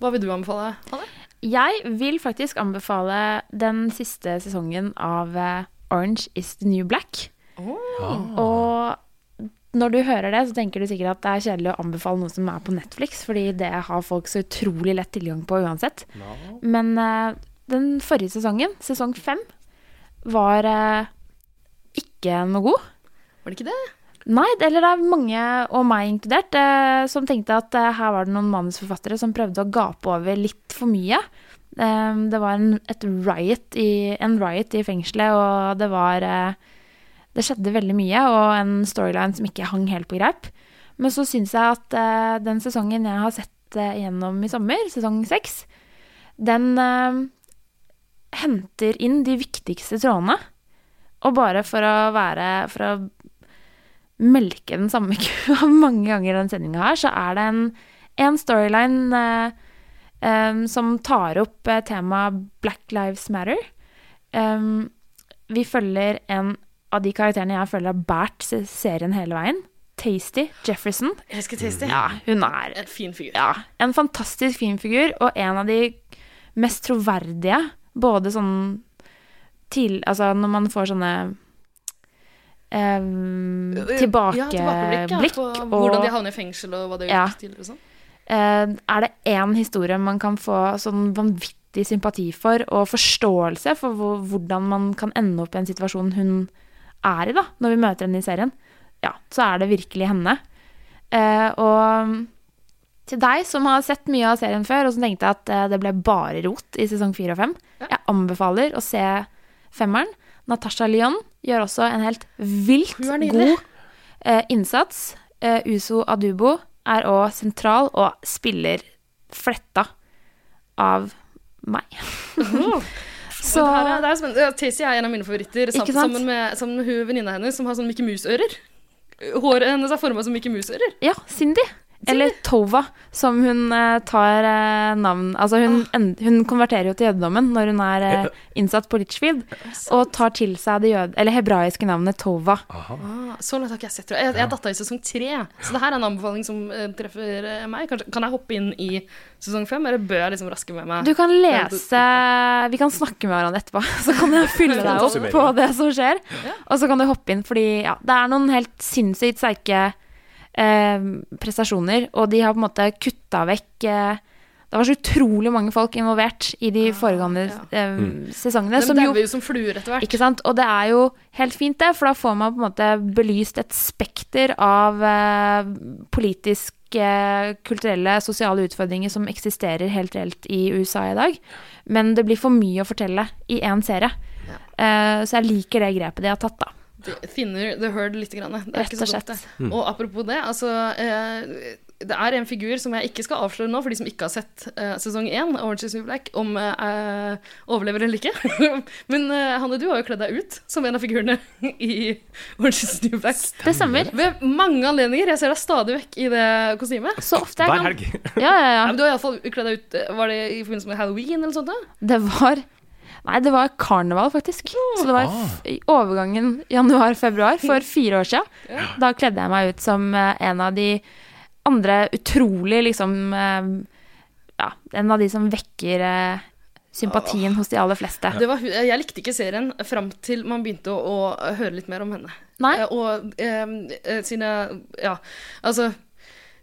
Hva vil du anbefale, Hanne?
Jeg vil faktisk anbefale den siste sesongen av eh, Orange is the New Black. Oh. Og når du hører det, så tenker du sikkert at det er kjedelig å anbefale noe som er på Netflix, fordi det har folk så utrolig lett tilgang på uansett. Men eh, den forrige sesongen, sesong fem, var eh, ikke noe god.
Var det ikke det?
Nei, det- eller det er mange, og meg inkludert, eh, som tenkte at eh, her var det noen manusforfattere som prøvde å gape over litt for mye. Eh, det var en, et riot i, en riot i fengselet, og det var eh, Det skjedde veldig mye, og en storyline som ikke hang helt på greip. Men så syns jeg at eh, den sesongen jeg har sett eh, gjennom i sommer, sesong seks, den eh, henter inn de viktigste trådene. Og bare for å være For å melke den samme <laughs> kua mange ganger i den sendinga her, så er det en, en storyline eh, em, som tar opp eh, temaet Black Lives Matter. Em, vi følger en av de karakterene jeg føler har båret se- serien hele veien. Tasty Jefferson.
Jeg elsker Tasty.
Ja, hun er
En fin figur.
ja, en fantastisk fin figur, og en av de mest troverdige, både sånn til, altså når man får sånne eh,
Ja, tilbakeblikk ja,
tilbakeblikk,
på hvordan
og
de havner i fengsel, og hva det
Ja.
gjør til og sånn.
eh, er det én historie man kan få sånn vanvittig sympati for, og forståelse for hvor, hvordan man kan ende opp i en situasjon hun er i, da, når vi møter henne i serien, ja, så er det virkelig henne. Eh, og til deg som har sett mye av serien før, og som tenkte at eh, det ble bare rot i sesong fire og fem, jeg anbefaler å se femmeren. Natasha Lyon gjør også en helt vilt
Hun er nydelig.
god eh, innsats. Eh, Uso Adubo er òg sentral og spiller fletta av meg. <laughs> Så
Men det her er- det er spennende. Ja, Tasty er en av mine favoritter, sam
Ikke sant?
sammen med, sammen med hun venninna hennes som har sånn Mickey Mouse-ører. Håret hennes er forma som Mickey Mouse-ører.
Ja, Cindy. Eller Tova, som hun eh, tar eh, navn Altså, hun, en, hun konverterer jo til jødedommen når hun er eh, innsatt på Litchfield, og tar til seg det jød... Eller hebraiske navnet Tova.
Ah, så langt har ikke jeg sett tror Jeg, jeg, jeg datta i sesong tre, så det her er en anbefaling som eh, treffer eh, meg. Kanskje, kan jeg hoppe inn i sesong fem, eller bør jeg liksom raske med meg?
Du kan lese Vi kan snakke med hverandre etterpå, <laughs> så kan jeg fylle deg opp på det som skjer. Og så kan du hoppe inn, fordi ja, det er noen helt sinnssykt sterke eh, prestasjoner, og de har på en måte kutta vekk eh, det var så utrolig mange folk involvert i de foregående eh, sesongene.
De
som jo
dauer jo som fluer etter hvert.
Ikke sant? Og det er jo helt fint, det, for da får man på en måte belyst et spekter av eh, politiske, kulturelle, sosiale utfordringer som eksisterer helt reelt i USA i dag. Men det blir for mye å fortelle i én serie. Eh, så jeg liker det grepet de har tatt, da.
Thinner the herd litt. Grann. Det er
Rett
ikke
og
så dumt, det.
slett.
Og apropos det, altså eh, Det er en figur som jeg ikke skal avsløre nå, for de som ikke har sett eh, sesong én, Orange is the New Black, om eh, overlever eller ikke. <laughs> Men eh, Hanne, du har jo kledd deg ut som en av figurene <laughs> i Orange is the New Black.
Det stemmer.
Ved mange anledninger. Jeg ser deg stadig vekk i det kostymet.
Så ofte jeg
Hver
kan
helg.
<laughs>
<laughs>
ja, ja,
Ja,
ja.
men du har iallfall kledd deg ut eh, Var det i forbindelse med halloween eller noe sånt? da?
Det var Nei, det var karneval, faktisk. Så det var f- i overgangen januar-februar
<laughs>
for fire år siden. Da kledde jeg meg ut som eh, en av de andre utrolig liksom eh, Ja, en av de som vekker eh, sympatien hos de aller fleste.
Det var, hun- jeg likte ikke serien fram til man begynte å, å høre litt mer om henne.
Nei.
Eh, Og eh, eh, sine Ja, altså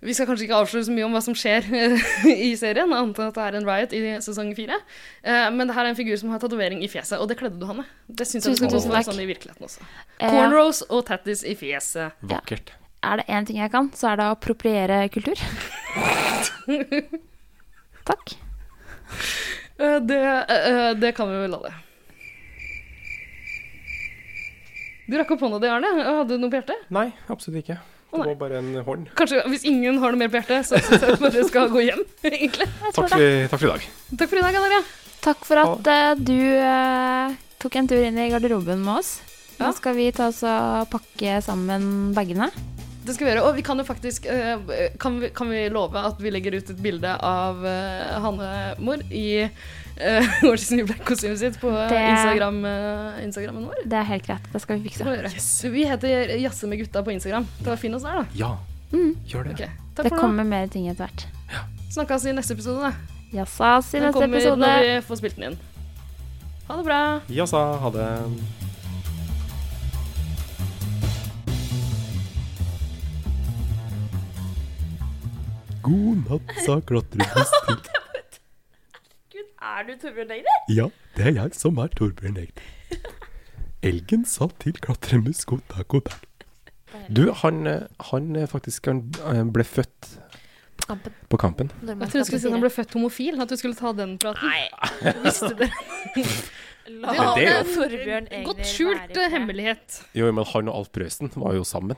Vi skal kanskje ikke avsløre så mye om hva som skjer <laughs> i serien, annet enn at det er en riot i sesong fire. Eh, Men det her er en figur som har tatovering i fjeset, og det kledde du, Hanne. Det syns jeg
Tusen,
det
tusen
var
takk.
sånn i virkeligheten også.
Eh,
Cornrows og tattis i fjeset.
Vakkert.
Er det én ting jeg kan, så er det å
<laughs>
appropriere kultur. Takk.
Eh, det, eh, eh, det kan vi vel la det. Du rakk opp hånda di, Arne. Hadde du noe på hjertet?
Nei, absolutt ikke.
Å,
Det
nei.
var bare en hånd.
Kanskje hvis ingen har noe mer på hjertet, så syns jeg bare skal gå hjem, <laughs> egentlig.
Takk for, takk for i dag.
Takk for i dag, Anaria.
Takk for at eh, du eh, tok en tur inn i garderoben med oss. Nå
Ja.
skal vi ta oss og pakke sammen bagene.
Det skal vi gjøre. Og vi kan jo faktisk eh, kan, vi, kan vi love at vi legger ut et bilde av eh, Hanne-mor i eh, <laughs> Where She's New Black-kostymet sitt på eh,
Det-
Instagram, eh, Instagrammen vår.
Det er helt greit. Det skal vi
Det
fikse.
må vi gjøre. Vi heter Jazze med gutta på Instagram. Ta og Finn oss der, da.
Ja,
Mm.
gjør det.
Ok, Takk
Det
for
kommer mer ting etter hvert.
nå. Snakkes i neste episode, da.
Jassas i
Den
neste
kommer
episode.
når vi får spilt den inn. Ha det bra.
Jaså, ha det.
God natt, sa klatrebuss
<laughs>
til
Er du Torbjørn Egner?
Ja, det er jeg som er Torbjørn Egner. Elgen sa til klatremus god dag, god dag.
Du, han, eh, han eh, faktisk han eh, ble født
Kampen.
på kampen.
Jeg trodde du skulle si at han ble født homofil. At du skulle ta den praten. Visste du det?
Men det er
Torbjørn
Godt skjult eh, hemmelighet.
Jo, men han og Alf Prøysen var jo sammen.